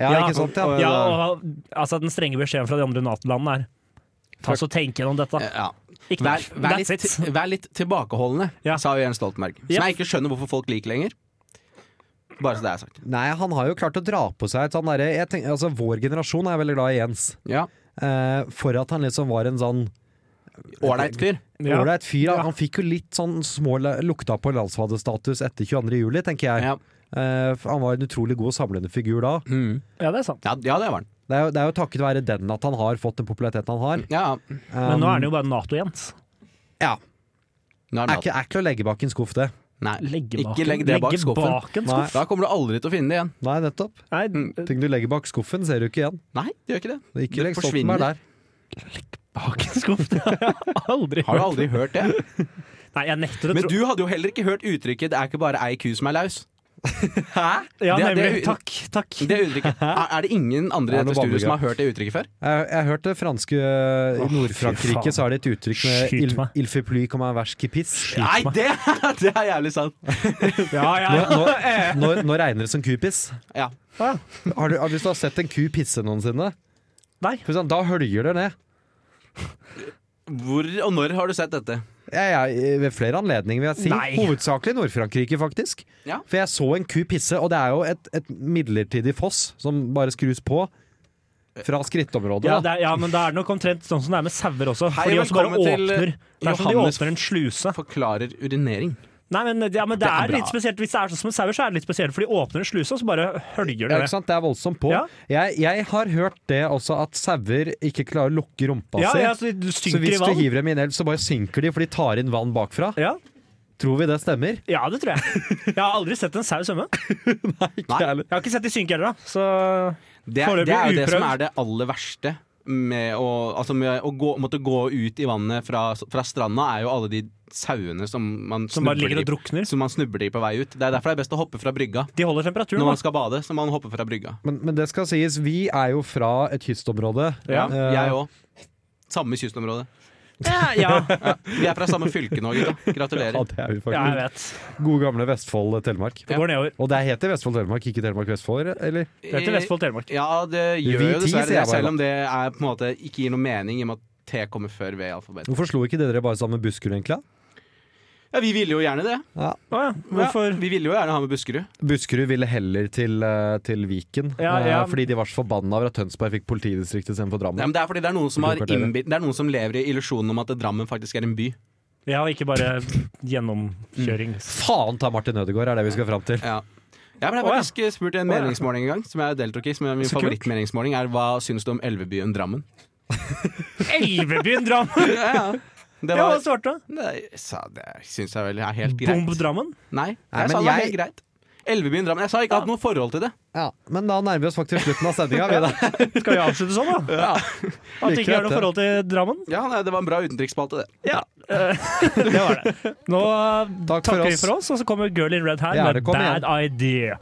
Speaker 4: Ja, ikke sant? Ja.
Speaker 6: Ja, og altså, den strenge beskjeden fra de andre Nato-landene er Ta så tenk gjennom dette.
Speaker 5: Ja.
Speaker 6: Ikke
Speaker 5: Vær, vær,
Speaker 6: Ah. That's
Speaker 5: litt,
Speaker 6: it.
Speaker 5: vær litt tilbakeholdne,
Speaker 6: Ja.
Speaker 5: sa jo Jens Stoltenberg. Som
Speaker 6: Ja.
Speaker 5: jeg ikke skjønner hvorfor folk liker lenger. Bare så det er sagt.
Speaker 4: Nei, han har jo klart å dra på seg et sånn derre jeg tenker- altså, Vår generasjon er veldig glad i Jens.
Speaker 5: Ja.
Speaker 4: Eh, for at han liksom var en sånn
Speaker 5: Ålreit fyr.
Speaker 6: Ja.
Speaker 4: ålreit fyr. Han- Han fikk jo litt sånn små la- lukta på landsfaderstatus etter 22. juli, tenker jeg.
Speaker 5: Ja.
Speaker 4: Eh, for han var en utrolig god og samlende figur da.
Speaker 5: Mm.
Speaker 6: ja, det er sant.
Speaker 5: Ja, ja, det var han.
Speaker 4: Det er, jo, det er jo takket være den at han har fått den populariteten han har. Um,
Speaker 5: Ja,
Speaker 6: Men nå er han jo bare Nato-Jens.
Speaker 4: Ja,
Speaker 5: nå er
Speaker 4: er
Speaker 5: det
Speaker 4: ikke, er ikke å legge bak en skuff, det.
Speaker 5: Nei,
Speaker 6: Legge bak,
Speaker 5: ikke legg det bak skuffen.
Speaker 6: bak en
Speaker 4: Nei.
Speaker 6: skuff.
Speaker 5: Da kommer du aldri til å finne det igjen.
Speaker 4: Nei, nettopp.
Speaker 6: Nei,
Speaker 5: Mm.
Speaker 4: Ting du legger bak skuffen, ser du ikke igjen.
Speaker 5: Nei, det gjør ikke det.
Speaker 4: Ikke
Speaker 5: Det
Speaker 4: legg
Speaker 5: forsvinner.
Speaker 4: Stoltenberg der.
Speaker 6: bak en skuff, det har jeg aldri
Speaker 5: Har du
Speaker 6: hørt.
Speaker 5: aldri hørt det?
Speaker 6: Nei, jeg nekter å
Speaker 5: Men
Speaker 6: tro
Speaker 5: du hadde jo heller ikke hørt uttrykket 'det er ikke bare ei ku som er laus'.
Speaker 6: Hæ? Ja,
Speaker 5: Det-
Speaker 6: nemlig.
Speaker 5: det er-
Speaker 6: takk. takk.
Speaker 5: Det uttrykket. Er er det ingen andre i
Speaker 4: Ja, nå
Speaker 5: dette studioet
Speaker 4: babler
Speaker 5: som har hørt det uttrykket før?
Speaker 4: Jeg, jeg har hørt det franske I Nord-Frankrike
Speaker 6: faen.
Speaker 4: så er det et uttrykk med
Speaker 6: Skyt
Speaker 4: il,
Speaker 6: meg.
Speaker 4: il fait pluie comme un vers qui pisse.
Speaker 5: Nei, det, det er jævlig sant!
Speaker 6: Ja, ja.
Speaker 4: Nå, nå, nå, nå regner det som kupiss.
Speaker 5: Ja.
Speaker 6: ja.
Speaker 4: Har du, har, hvis du har sett en ku pisse noensinne,
Speaker 6: Nei.
Speaker 4: for sånn, da høljer det ned.
Speaker 5: Hvor og når har du sett dette?
Speaker 4: Jeg, jeg, ved flere anledninger, vil jeg si.
Speaker 6: Nei.
Speaker 4: Hovedsakelig Nord-Frankrike, faktisk.
Speaker 5: Ja.
Speaker 4: For jeg så en ku pisse, og det er jo et, et midlertidig foss som bare skrus på fra skrittområdet.
Speaker 6: Ja,
Speaker 4: da.
Speaker 6: det er, ja, men det er nok omtrent sånn som det er med sauer også.
Speaker 5: Hei,
Speaker 6: for de også bare
Speaker 5: velkommen til, eh,
Speaker 6: åpner. Det er som de
Speaker 5: Johannes.
Speaker 6: åpner en sluse.
Speaker 5: Forklarer urinering.
Speaker 6: Nei, men, ja, men det,
Speaker 5: Det er
Speaker 6: er,
Speaker 5: bra.
Speaker 6: litt spesielt. Hvis det er sånn som med sauer, så er det litt spesielt, for de åpner en sluse, og så bare høljer
Speaker 4: Ja, ikke
Speaker 6: det ned.
Speaker 4: sant? Det er voldsomt på.
Speaker 6: Ja.
Speaker 4: Jeg, jeg har hørt det også, at sauer ikke klarer å lukke rumpa
Speaker 6: Ja,
Speaker 4: si.
Speaker 6: ja, så de
Speaker 4: så
Speaker 6: synker i
Speaker 4: hvis du
Speaker 6: vann.
Speaker 4: hiver dem i en elv, så bare synker de, for de tar inn vann bakfra.
Speaker 6: Ja.
Speaker 4: Tror vi det stemmer?
Speaker 6: ja, det tror jeg. Jeg har aldri sett en sau svømme.
Speaker 5: Nei,
Speaker 6: Jeg har ikke sett de synke heller, da. Så
Speaker 5: det, er-
Speaker 6: Foreløpig
Speaker 5: det er jo det som
Speaker 6: uprøvd.
Speaker 5: er det aller verste med å, altså med å gå, måtte gå ut i vannet fra, fra stranda, er jo alle de sauene som man
Speaker 6: Som bare
Speaker 5: snubler
Speaker 6: ligger og
Speaker 5: i-
Speaker 6: drukner.
Speaker 5: Som man snubler i på vei ut. Det er derfor det er best å hoppe fra brygga.
Speaker 6: de holder temperaturen.
Speaker 5: Når man
Speaker 6: da.
Speaker 5: skal bade, så må man hoppe fra brygga.
Speaker 4: Men, men det skal sies, vi er jo fra et kystområde.
Speaker 6: Ja,
Speaker 4: Eh,
Speaker 5: Jeg òg. Samme kystområde.
Speaker 6: Ja,
Speaker 5: Vi er fra samme fylke nå, gutta.
Speaker 4: Ja,
Speaker 5: Gratulerer.
Speaker 4: det er vi
Speaker 6: ja, jeg
Speaker 4: faktisk.
Speaker 6: vet.
Speaker 4: Gode gamle Vestfold-Telemark.
Speaker 6: Det går nedover.
Speaker 4: Og det heter Vestfold-Telemark, ikke Telemark-Vestfold, eller?
Speaker 6: Det heter Vestfold Telemark.
Speaker 5: Ja, det gjør
Speaker 4: Vi
Speaker 5: jo
Speaker 4: ti,
Speaker 5: dessverre
Speaker 4: sier jeg
Speaker 5: det,
Speaker 4: bare.
Speaker 5: selv om det er på en måte ikke gir noe mening i og med at T kommer før V i alfabetet.
Speaker 4: Hvorfor slo ikke dere bare sammen med Buskerud, egentlig?
Speaker 5: Ja, vi ville jo gjerne det.
Speaker 6: Å ja,
Speaker 5: Ja,
Speaker 6: hvorfor?
Speaker 5: vi ville jo gjerne ha med Buskerud.
Speaker 4: Buskerud ville heller til, eh, til Viken,
Speaker 6: Ja,
Speaker 4: eh,
Speaker 6: ja.
Speaker 4: fordi de var så forbanna over at Tønsberg fikk politidistriktet istedenfor
Speaker 5: Nei,
Speaker 4: Drammen.
Speaker 5: men det er fordi det er noen som, har
Speaker 4: Kulturkvarteret.
Speaker 5: innbilt- det er noen som lever i illusjonen om at Drammen faktisk er en by.
Speaker 6: Ja, og ikke bare gjennomkjøring.
Speaker 5: Mm.
Speaker 4: Faen ta Martin Ødegaard, er det vi skal fram til.
Speaker 5: Ja. Jeg
Speaker 6: Å,
Speaker 5: ble
Speaker 6: ja.
Speaker 5: faktisk eh, spurt i en
Speaker 6: Å, ja.
Speaker 5: meningsmåling en gang, som jeg deltok i. Som er min
Speaker 6: Så kult.
Speaker 5: favorittmeningsmåling er Hva syns du om elvebyen Drammen?
Speaker 6: Elvebyen Drammen!
Speaker 5: Ja, ja. Det
Speaker 6: Ja, hva
Speaker 5: var
Speaker 6: svarte du?
Speaker 5: Nei, jeg sa det syns jeg vel er helt greit.
Speaker 6: Bomb Drammen?
Speaker 5: Nei,
Speaker 4: Nei,
Speaker 5: jeg sa
Speaker 4: men
Speaker 5: det var
Speaker 4: jeg-
Speaker 5: helt greit. Elvebyen Drammen. Jeg sa ikke hatt noe forhold til det.
Speaker 4: Ja, men da nærmer vi oss faktisk slutten av sendinga.
Speaker 6: Skal vi avslutte sånn, da? At det ikke er noe forhold til Drammen?
Speaker 5: Ja, nei, Det var en bra utenriksspalte, det.
Speaker 6: Ja, eh, det var det. Nå eh,
Speaker 4: Takk for
Speaker 6: takker vi
Speaker 4: oss.
Speaker 6: for oss, og så kommer Girl in Red her
Speaker 4: Ja, det
Speaker 6: med
Speaker 4: kommer
Speaker 6: Bad Idea.